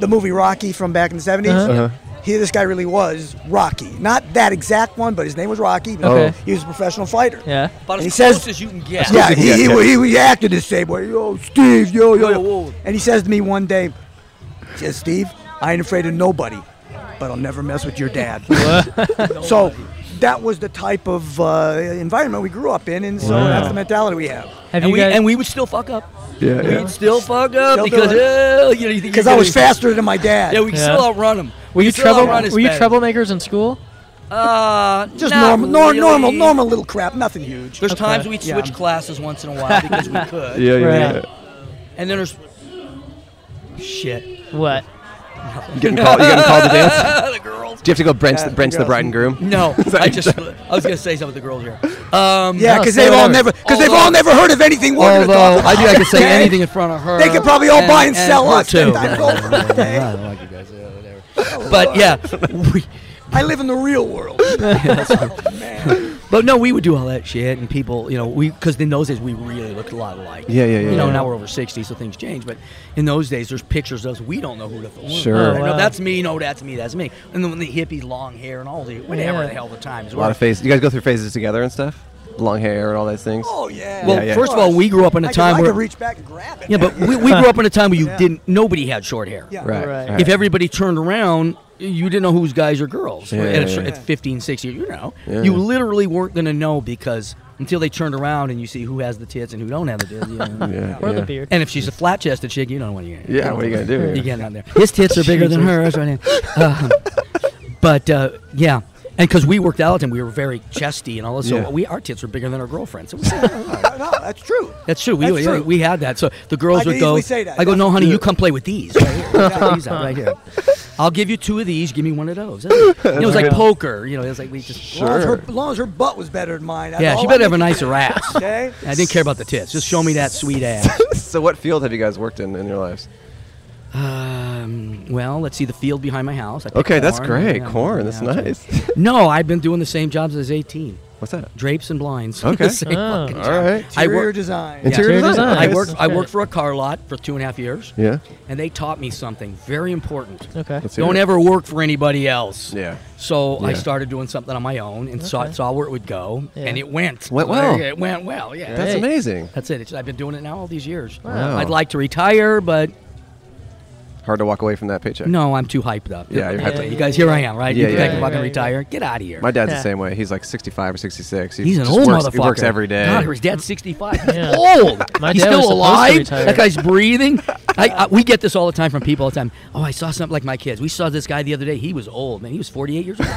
M: the movie Rocky from back in the 70s
B: Uh-huh. Uh-huh.
M: He, this guy really was Rocky. Not that exact one, but his name was Rocky.
B: Okay.
M: He was a professional fighter.
A: Yeah.
L: About
M: And
L: as
M: he
L: close
M: says,
L: as you can get. As close
M: Yeah,
L: as you can
M: he,
L: get,
M: he,
L: yeah.
M: wa- he, wa- he acted the same way. Yo, Steve, yo, yo, yo.
L: Whoa, whoa.
M: And he says to me one day, he says, Steve, I ain't afraid of nobody, but I'll never mess with your dad. so that was the type of uh, environment we grew up in, and so
L: Wow.
M: that's the mentality we have.
L: and, we, and we would still fuck up.
B: Yeah,
L: We'd
B: yeah.
L: still fuck up
M: Still do
L: because
M: it.
L: oh, you know, you think you're
M: Because I was
L: gonna-
M: faster than my dad.
L: Yeah, we could still outrun him.
A: Were
L: We
A: you
L: could still
A: trouble?
L: outrun his
A: Were you
L: better.
A: troublemakers in school?
L: Uh,
M: Just
L: not
M: normal, nor-
L: really.
M: normal, normal little crap, nothing huge.
L: There's times we'd
M: Yeah.
L: switch classes once in a while because we could.
B: Yeah, yeah, Right. yeah.
L: And then there's shit.
A: What?
B: You getting called? You getting called to dance?
L: the girls.
B: Do you have to go bench the, bench the bride and groom?
L: No,
B: Is that
L: I
B: what
L: just
B: you-
L: I was gonna say something to the girls here. Um,
M: Yeah, because they've all never, because they've all never heard of anything we're gonna
L: although
M: talk about.
L: I think I could say
M: okay?
L: anything in front of her.
M: They could probably all
L: and-
M: buy and, sell
L: her
M: us. ten
L: too.
M: times
L: Yeah,
M: over,
L: yeah, yeah,
M: okay?
L: yeah, I like you guys. Yeah, Uh, whatever. But yeah, we,
M: Oh, I live in the real world. Oh,
L: But no, we would do all that shit, and people, you know, we because in those days we really looked a lot alike.
B: Yeah, yeah, yeah,
L: You know,
B: yeah.
L: now we're over sixty, so things change. But in those days, there's pictures of us. We don't know who the fuck.
B: Sure.
L: Oh,
B: Oh,
L: no,
B: wow.
L: that's me. No, that's me. That's me. And then when the hippie long hair and all the whatever
M: Yeah.
L: the hell the times
B: A lot of phases. You guys go through phases together and stuff. Long hair and all those things.
M: Oh yeah.
L: Well, first of all, we grew up in a
M: I could-
L: time
M: I could
L: where
M: reach back and grab it.
L: Yeah, but we, we grew up in a time where you didn't. Nobody had short hair.
M: Yeah. Right, Right.
B: right.
L: If everybody turned around, you didn't know who's guys or girls.
B: Yeah,
L: at, a-
B: yeah, yeah.
L: at 15, 16, you know,
B: Yeah.
L: you literally weren't gonna know because until they turned around and you see who has the tits and who don't have the tits. You know.
B: Yeah, Or the yeah. beard.
L: And if she's a flat-chested chick, you don't know what you're.
B: Yeah, what are you gonna do?
L: You get out there. His tits are bigger than
B: Jesus.
L: hers, right? Uh, but uh, yeah. And because we worked out and we were very chesty and all this, so
B: Yeah.
L: we our tits were bigger than our girlfriends. It was
M: no, that's true.
L: that's true. We,
M: That's
L: we-
M: true.
L: we had that. So the girls
M: I
L: would
M: could
L: go.
M: easily say that.
L: I go, no, honey,
M: Yeah.
L: you come play with these right here. Check these out right here. I'll give you two of these. Give me one of those. You know, it was like
M: That's real.
L: poker. You know, it was like we just.
M: As long as, her, as long as her butt was better than mine. that's
L: Yeah,
M: all
L: she
M: I
L: better have a
M: needed.
L: nicer ass.
M: Okay.
L: I didn't care about the tits. Just show me that sweet ass.
B: so, what field have you guys worked in in your lives?
L: Um, well, let's see the field behind my house. I pick
B: Okay, that's great.
L: Yeah,
B: Corn, that's
L: yeah,
B: nice.
L: No, I've been doing the same jobs as 18.
B: What's that?
L: Drapes and blinds.
B: Okay.
L: Same
B: Oh.
L: fucking
B: All
L: job.
B: right.
L: I
M: Interior
L: work-
M: design.
L: Yeah.
B: Interior Interior design.
L: I
B: design.
L: worked. I
B: Okay.
L: worked for a car lot for two and a half years.
B: Yeah.
L: And they taught me something very important.
A: Okay.
B: Let's hear
L: Don't
B: it.
L: ever work for anybody else.
B: Yeah.
L: So I
B: Yeah.
L: started doing something on my own and saw
B: Okay.
L: saw where it would go,
B: Yeah.
L: and it went.
B: Went well.
L: It went well. Yeah.
B: That's Great. amazing.
L: That's it. It's, I've been doing it now all these years.
B: Wow.
L: I'd like to retire, but
B: Hard to walk away from that paycheck.
L: no, I'm too hyped up.
B: Yeah, you're
L: That's
B: hyped
L: it.
B: up.
L: You guys, here I am, right?
B: Yeah,
L: you
B: yeah,
L: think
B: yeah.
L: I'm gonna
B: Right,
L: retire? Get out of here.
B: My dad's
L: Yeah.
B: the same way. He's like 65 or 66. He
L: He's an
B: just
L: old
B: works,
L: motherfucker.
B: He works every day.
L: God, his dad's 65. He's
B: Yeah.
L: old.
B: My
L: He's
B: dad was supposed
L: still
B: to
L: alive.
B: retire.
L: That guy's breathing. I, I, we get this all the time from people all the time. Oh, I saw something like my kids. We saw this guy the other day. He was old, man. He was 48 years old.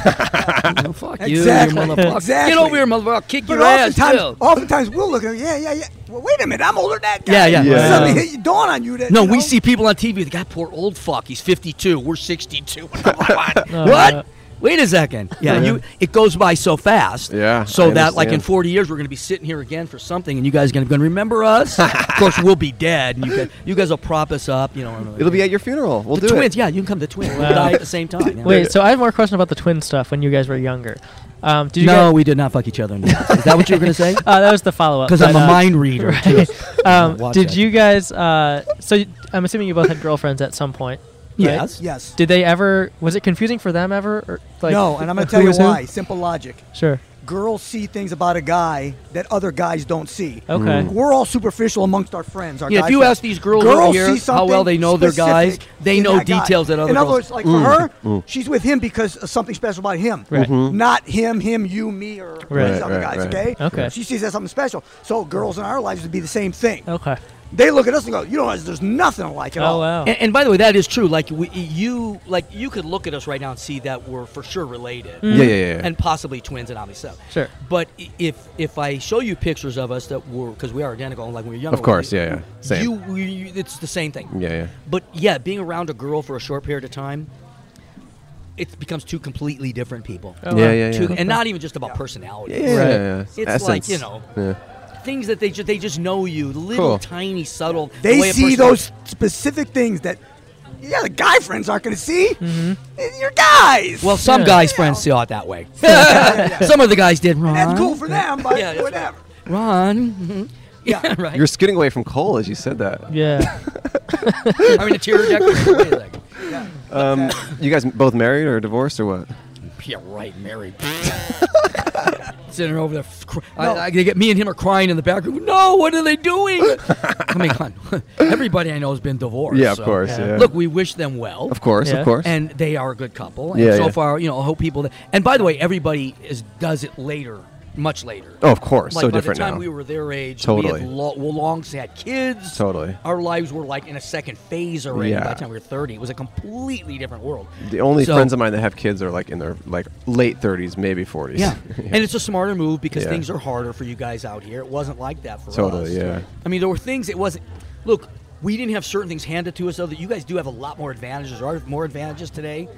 L: no, fuck you,
M: Exactly.
L: you motherfucker.
M: Exactly.
L: Get over here, motherfucker. I'll kick
M: But
L: your ass,
M: oftentimes,
L: too.
M: oftentimes we'll look at her. Yeah, yeah, yeah. Well, wait a minute, I'm older than that guy.
L: Yeah, yeah. Yeah.
M: Suddenly hit you dawn on you that.
L: No,
M: you
L: we
M: know,
L: see people on TV. The guy, poor old fuck. He's 52. We're 62. what?
M: No,
L: what?
M: no.
L: wait a second. Yeah,
B: Yeah.
L: you. It goes by so fast.
B: Yeah,
L: So
B: I
L: that like in
B: understand.
L: 40 years we're going to be sitting here again for something, and you guys are going to remember us. of course, we'll be dead, and you guys, you guys will prop us up. You know. and-
B: It'll be at your funeral. We'll
L: the
B: do
L: twins.
B: it.
L: Yeah, you can come to twins. We'll die at the same time. yeah.
A: Wait, so I have more question about the twin stuff when you guys were younger. Um, did you
L: no,
A: guys-
L: we did not fuck each other. in the ass. Is that what you were going to say?
A: Uh, that was the follow up.
L: 'Cause I'm a mind reader, too.
A: um,
L: Watch
A: did
L: out.
A: you guys? Uh, so y- I'm assuming you both had girlfriends at some point. right?
L: Yes.
M: Yes.
A: Did they ever? Was it confusing for them ever? Or, like,
M: no, and I'm going to
A: who
M: tell you
A: was who?
M: why. Simple logic.
A: Sure.
M: Girls see things about a guy that other guys don't see.
A: Okay. Mm.
M: We're all superficial amongst our friends. Our
L: Yeah, if
M: guy
L: you
M: friends.
L: ask these girls over here
M: see
L: how well
M: something
L: they know their guys,
M: specific
L: they
M: in
L: know
M: that guy.
L: details that other
M: In other words,
L: girls-
M: like
L: Mm.
M: for her,
L: Mm.
M: she's with him because of something special about him.
L: Right. Mhm.
M: Not him, him, you, me, or
L: Right,
M: these other
L: right,
M: guys,
L: right.
M: okay?
L: Okay.
M: She sees that something special. So girls in our lives would be the same thing.
A: Okay.
M: They look at us and go, you know, there's nothing alike at all.
L: Oh, And, and by the way, that is true. Like we, you, like you could look at us right now and see that we're for sure related.
B: Mhm. Yeah, yeah, yeah, yeah.
L: And possibly twins and obviously stuff.
B: Sure.
L: But i- if if I show you pictures of us that were because we are identical, like when we were younger.
B: Of course,
L: you-
B: yeah, yeah. Same.
L: You, we- you, it's the same thing.
B: Yeah, yeah.
L: But yeah, being around a girl for a short period of time. It becomes two completely different people.
B: Oh, Yeah, wow. yeah,
L: Two-
B: yeah.
L: and not even just about personality.
B: Yeah, yeah, Right. yeah, yeah.
L: It's like
B: Essence.
L: you know,
B: Yeah.
L: things that they just they just know you, little
B: Cool.
L: tiny subtle. the
M: They
L: way a
M: see
L: person-
M: those specific things that, yeah, the guy friends aren't going to see. Mm-hmm. Your guys.
L: Well, some
M: Yeah.
L: guys' friends saw it that way.
M: Yeah.
L: some of the guys did. Ron,
M: That's cool for Mm-hmm. them, but
L: Yeah, that's right.
M: whatever.
L: Ron. mhm. Yeah, right.
B: You're skidding away from coal as you said that.
A: Yeah.
L: I mean, a tearjerker. Wait a second.
B: Um, you guys both married or divorced or what?
L: Yeah, right, Mary. Sitting over there, cr- I, I, they get me and him are crying in the background. No, what are they doing? I mean, come on. everybody I know has been divorced.
B: Yeah, of
L: so-
B: course, Yeah. yeah.
L: Look, we wish them well.
B: Of course, of Yeah. course.
L: And they are a good couple. And
B: Yeah,
L: so
B: yeah.
L: far, you know, I hope people. That, and by the way, everybody is does it later, much later.
B: Oh, of course,
L: Like,
B: so
L: by
B: different
L: the time
B: now.
L: we were their age, we
B: Totally.
L: had lo- well, long had kids.
B: Totally.
L: Our lives were like in a second phase already.
B: Yeah.
L: By the time we were thirty, it was a completely different world.
B: The only
L: So-
B: friends of mine that have kids are like in their like late 30s, maybe 40s.
L: yeah. and it's a smarter move because
B: Yeah.
L: things are harder for you guys out here. It wasn't like that for us.
B: Totally, yeah.
L: I mean, there were things it wasn't. Look, we didn't have certain things handed to us. Though that you guys do have a lot more advantages. There are more advantages today.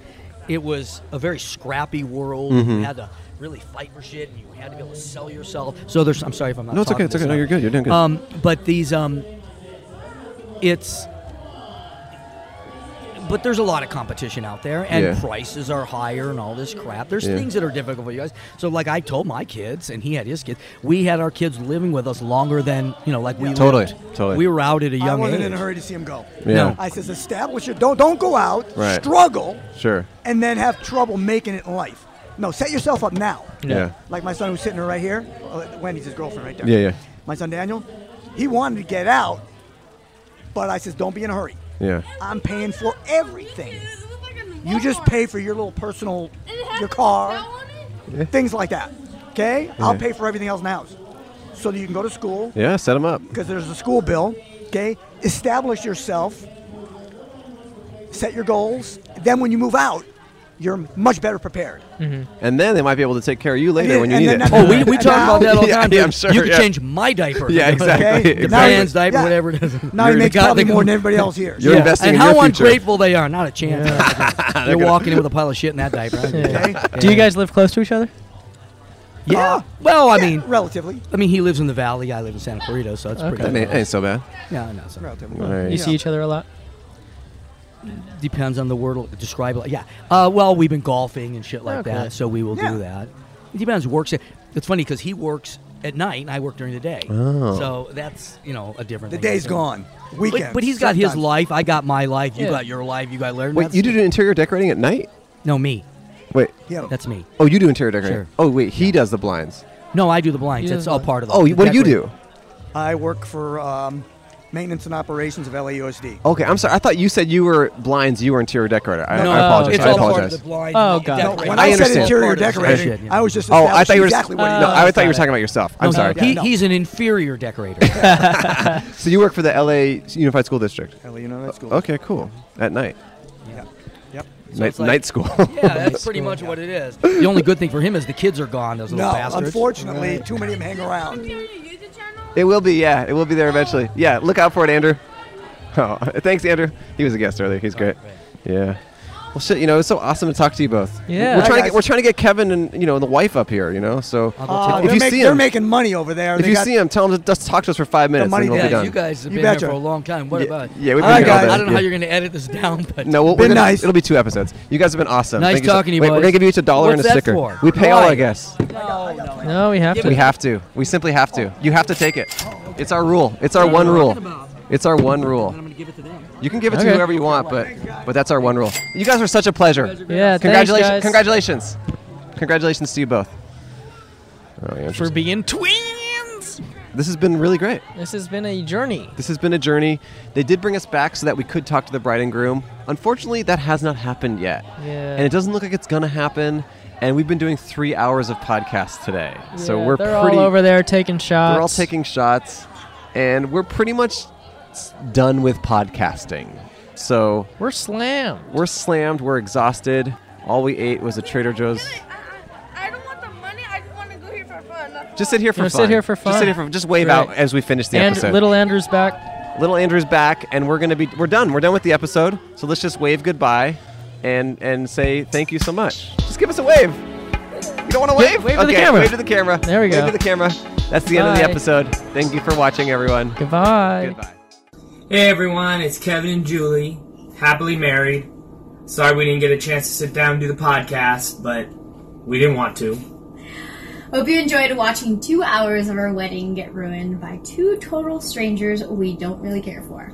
L: It was a very scrappy world. You
B: Mhm.
L: had to really fight for shit, and you had to be able to sell yourself. So there's. I'm sorry if I'm not.
B: No, it's okay,
L: talking
B: it's
L: this
B: okay. No,
L: up.
B: you're good, you're doing good.
L: Um, but these. Um, it's. But there's a lot of competition out there, and
B: Yeah.
L: prices are higher, and all this crap. There's
B: Yeah.
L: things that are difficult for you guys. So, like I told my kids, and he had his kids. We had our kids living with us longer than you know, like we
B: Totally,
L: lived.
B: totally.
L: We were out at a
M: I
L: young
M: wasn't
L: age.
M: in a hurry to see him go.
L: Yeah. No.
M: I says establish it. Don't don't go out.
B: Right.
M: Struggle,
B: Sure.
M: and then have trouble making it in life. No, set yourself up now.
B: Yeah. Yeah.
M: Like my son who's sitting right here. uh, Wendy's his girlfriend right there.
B: Yeah, yeah.
M: My son Daniel, he wanted to get out, but I says don't be in a hurry.
B: Yeah.
M: I'm paying for everything. You just pay for your little personal, your car, things like that. Okay? I'll
B: Yeah.
M: pay for everything else in the house, so that you can go to school
B: Yeah, set them up.
M: because there's a school bill. Okay, establish yourself, set your goals. Then when you move out, you're much better prepared.
B: And then they might be able to take care of you later
M: Yeah,
B: when you
M: and
B: need
M: then
B: it.
M: that- Oh, we- we talk
L: about Mm-hmm. that all the
B: Yeah,
L: time,
B: yeah,
L: dude.
B: I'm sure.
L: You can
B: yeah.
L: change my diaper.
B: Yeah, exactly.
L: The
B: exactly.
L: brand's diaper,
M: yeah.
L: whatever it is.
M: Now he
L: You're the
M: makes
L: guy
M: probably
L: that-
M: more than everybody else here.
B: You're investing
L: and
B: in
L: how
B: your future.
L: ungrateful they are. Not a chance.
B: They're
L: You're
B: gonna-
L: walking in with a pile of shit in that diaper.
A: Do you guys live close to each other?
L: Yeah. well, I mean,
M: relatively.
L: I mean, he lives in the valley. I live in Santa Clarita, so that's
A: Okay.
L: pretty.
B: That ain't, ain't so bad.
L: Yeah, I know. So.
B: Relatively. Right.
A: You see each other a lot.
L: Depends on the word. Describe it. Yeah. Uh, well, we've been golfing and shit like
A: Okay.
L: that, so we will do that. It depends. Works. It's funny because he works at night, and I work during the day.
B: Oh.
L: So that's you know a different.
M: The
L: thing.
M: day's
L: So-
M: gone.
L: But-
M: Weekends,
L: But, he's got his
M: sometimes.
L: life. I got my life. You
M: Yeah.
L: got your life. You got Larry.
B: Wait, you do interior decorating at night?
L: No, me.
B: Wait.
M: Yeah.
L: That's me.
B: Oh, you do interior decorating.
L: Sure.
B: Oh, wait, he does the blinds.
L: No, I do the blinds. It's all part of the.
B: Oh, what do you do?
M: I work for um, maintenance and operations of LAUSD.
B: Okay, I'm sorry. I thought you said you were blinds. You were interior decorator. I,
M: No,
B: I
M: no,
B: apologize.
M: it's
B: I
M: all part of
B: apologize.
M: the blind Oh, God. decorating. No, when I said
B: understand.
M: interior decorating, Shit, yeah. I was just
B: Oh, I thought you
M: establishing
B: were.
M: exactly what he
B: no,
M: does.
B: I thought you were
M: Got it.
B: talking about yourself. I'm
L: No,
B: sorry.
L: He, He's an inferior decorator.
B: so you work for the LA Unified School District.
M: LA Unified School.
B: Okay, cool. At night.
M: Yep.
B: Night,
L: it's like-
B: night school.
L: Yeah, that's pretty much what it is. The only good thing for him is the kids are gone. Those little
M: No,
L: bastards.
M: unfortunately, too many of them hang around.
B: It will be, yeah. It will be there eventually. Yeah, look out for it, Andrew. Oh, thanks, Andrew. He was a guest earlier. He's great. Yeah. Well, shit, you know, it's so awesome to talk to you both.
M: Yeah.
B: we're
M: Hi,
B: trying to
M: guys.
B: get, we're trying to get Kevin and you know the wife up here. You know, so
M: Uh, they're, make- they're making money over there.
B: if
M: They
B: you
M: got-
B: see him, tell him to just talk to us for five minutes,
M: money
B: and we'll
M: guys,
B: be done.
M: you
L: You guys have
M: You
L: been here
M: betcha.
L: for a long time. What
B: Yeah,
L: about it?
B: yeah, we've
L: All
B: been
L: right,
B: here all
L: guys.
B: day.
L: I don't know how
B: Yeah.
L: you're going to edit this down, but
B: No, we'll, we're gonna- It'll be two episodes. You guys have been awesome.
L: Nice
B: Thank you so-
L: talking to you
B: Wait, we're
L: boys.
B: gonna give you each a dollar
L: What's
B: and a
L: that
B: sticker.
L: for?
B: We pay all
L: Why?
B: our guests.
J: No, we have to.
B: We have to. We simply have to. You have to take it. It's our rule. It's our one rule. It's our one rule. You can give it to
J: Okay.
B: whoever you want, but but that's our one rule. You guys were such a pleasure.
J: Yeah, thanks,
B: congratulations,
J: guys.
B: congratulations, congratulations to you both. Oh, yeah,
N: For being twins.
B: this has been really great.
J: This has been a journey.
B: This has been a journey. They did bring us back so that we could talk to the bride and groom. Unfortunately, that has not happened yet.
J: Yeah.
B: And it doesn't look like it's going to happen. And we've been doing three hours of podcasts today. so
J: Yeah,
B: we're
J: they're
B: pretty.
J: all over there taking shots.
B: We're all taking shots. And we're pretty much s- done with podcasting. So
J: We're slammed.
B: we're slammed. We're exhausted. All we ate was a Trader Joe's. Just sit here for
J: Gonna
B: fun.
J: sit here for fun.
B: Just sit here for Just wave
J: Right.
B: out as we finish the
J: and
B: episode.
J: little Andrew's back.
B: Little Andrew's back, and we're gonna be we're done. We're done with the episode. So let's just wave goodbye, and and say thank you so much. Just give us a wave. You don't want to wave? Oh,
J: wave to
B: okay,
J: the camera.
B: Wave to the camera.
J: There we go.
B: Wave to the camera. That's the end of the
J: Bye.
B: episode. Thank you for watching, everyone.
J: Goodbye.
B: Goodbye.
A: Hey everyone, it's Kevin and Julie, happily married. Sorry we didn't get a chance to sit down and do the podcast, but we didn't want to.
O: Hope you enjoyed watching two hours of our wedding get ruined by two total strangers we don't really care for.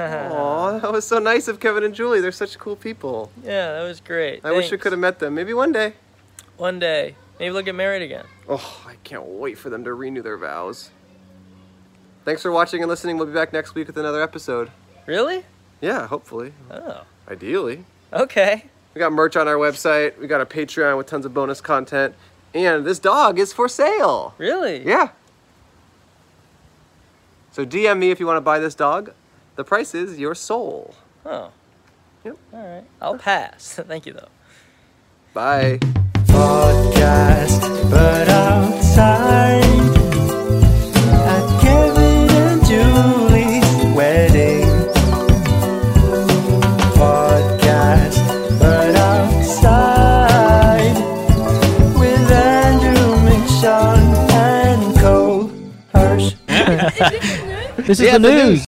B: Aw, that was so nice of Kevin and Julie. They're such cool people.
P: Yeah, that was great.
B: I wish we
P: Thanks.
B: could have met them. Maybe one day.
P: One day. Maybe they'll get married again.
B: Oh, I can't wait for them to renew their vows. Thanks for watching and listening. We'll be back next week with another episode.
P: Really?
B: Yeah, hopefully.
P: Oh.
B: Ideally.
P: Okay.
B: We got merch on our website. We got a Patreon with tons of bonus content. And this dog is for sale.
P: Really?
B: Yeah. So DM me if you want to buy this dog. The price is your soul.
P: Oh. Yep. All right. I'll pass. Thank you, though.
B: Bye.
C: podcast, but outside at Kevin and Julie's wedding. Podcast, but outside with Andrew McShawn and Cole Hirsch.
J: This is
C: Yeah,
J: the
C: the
J: news.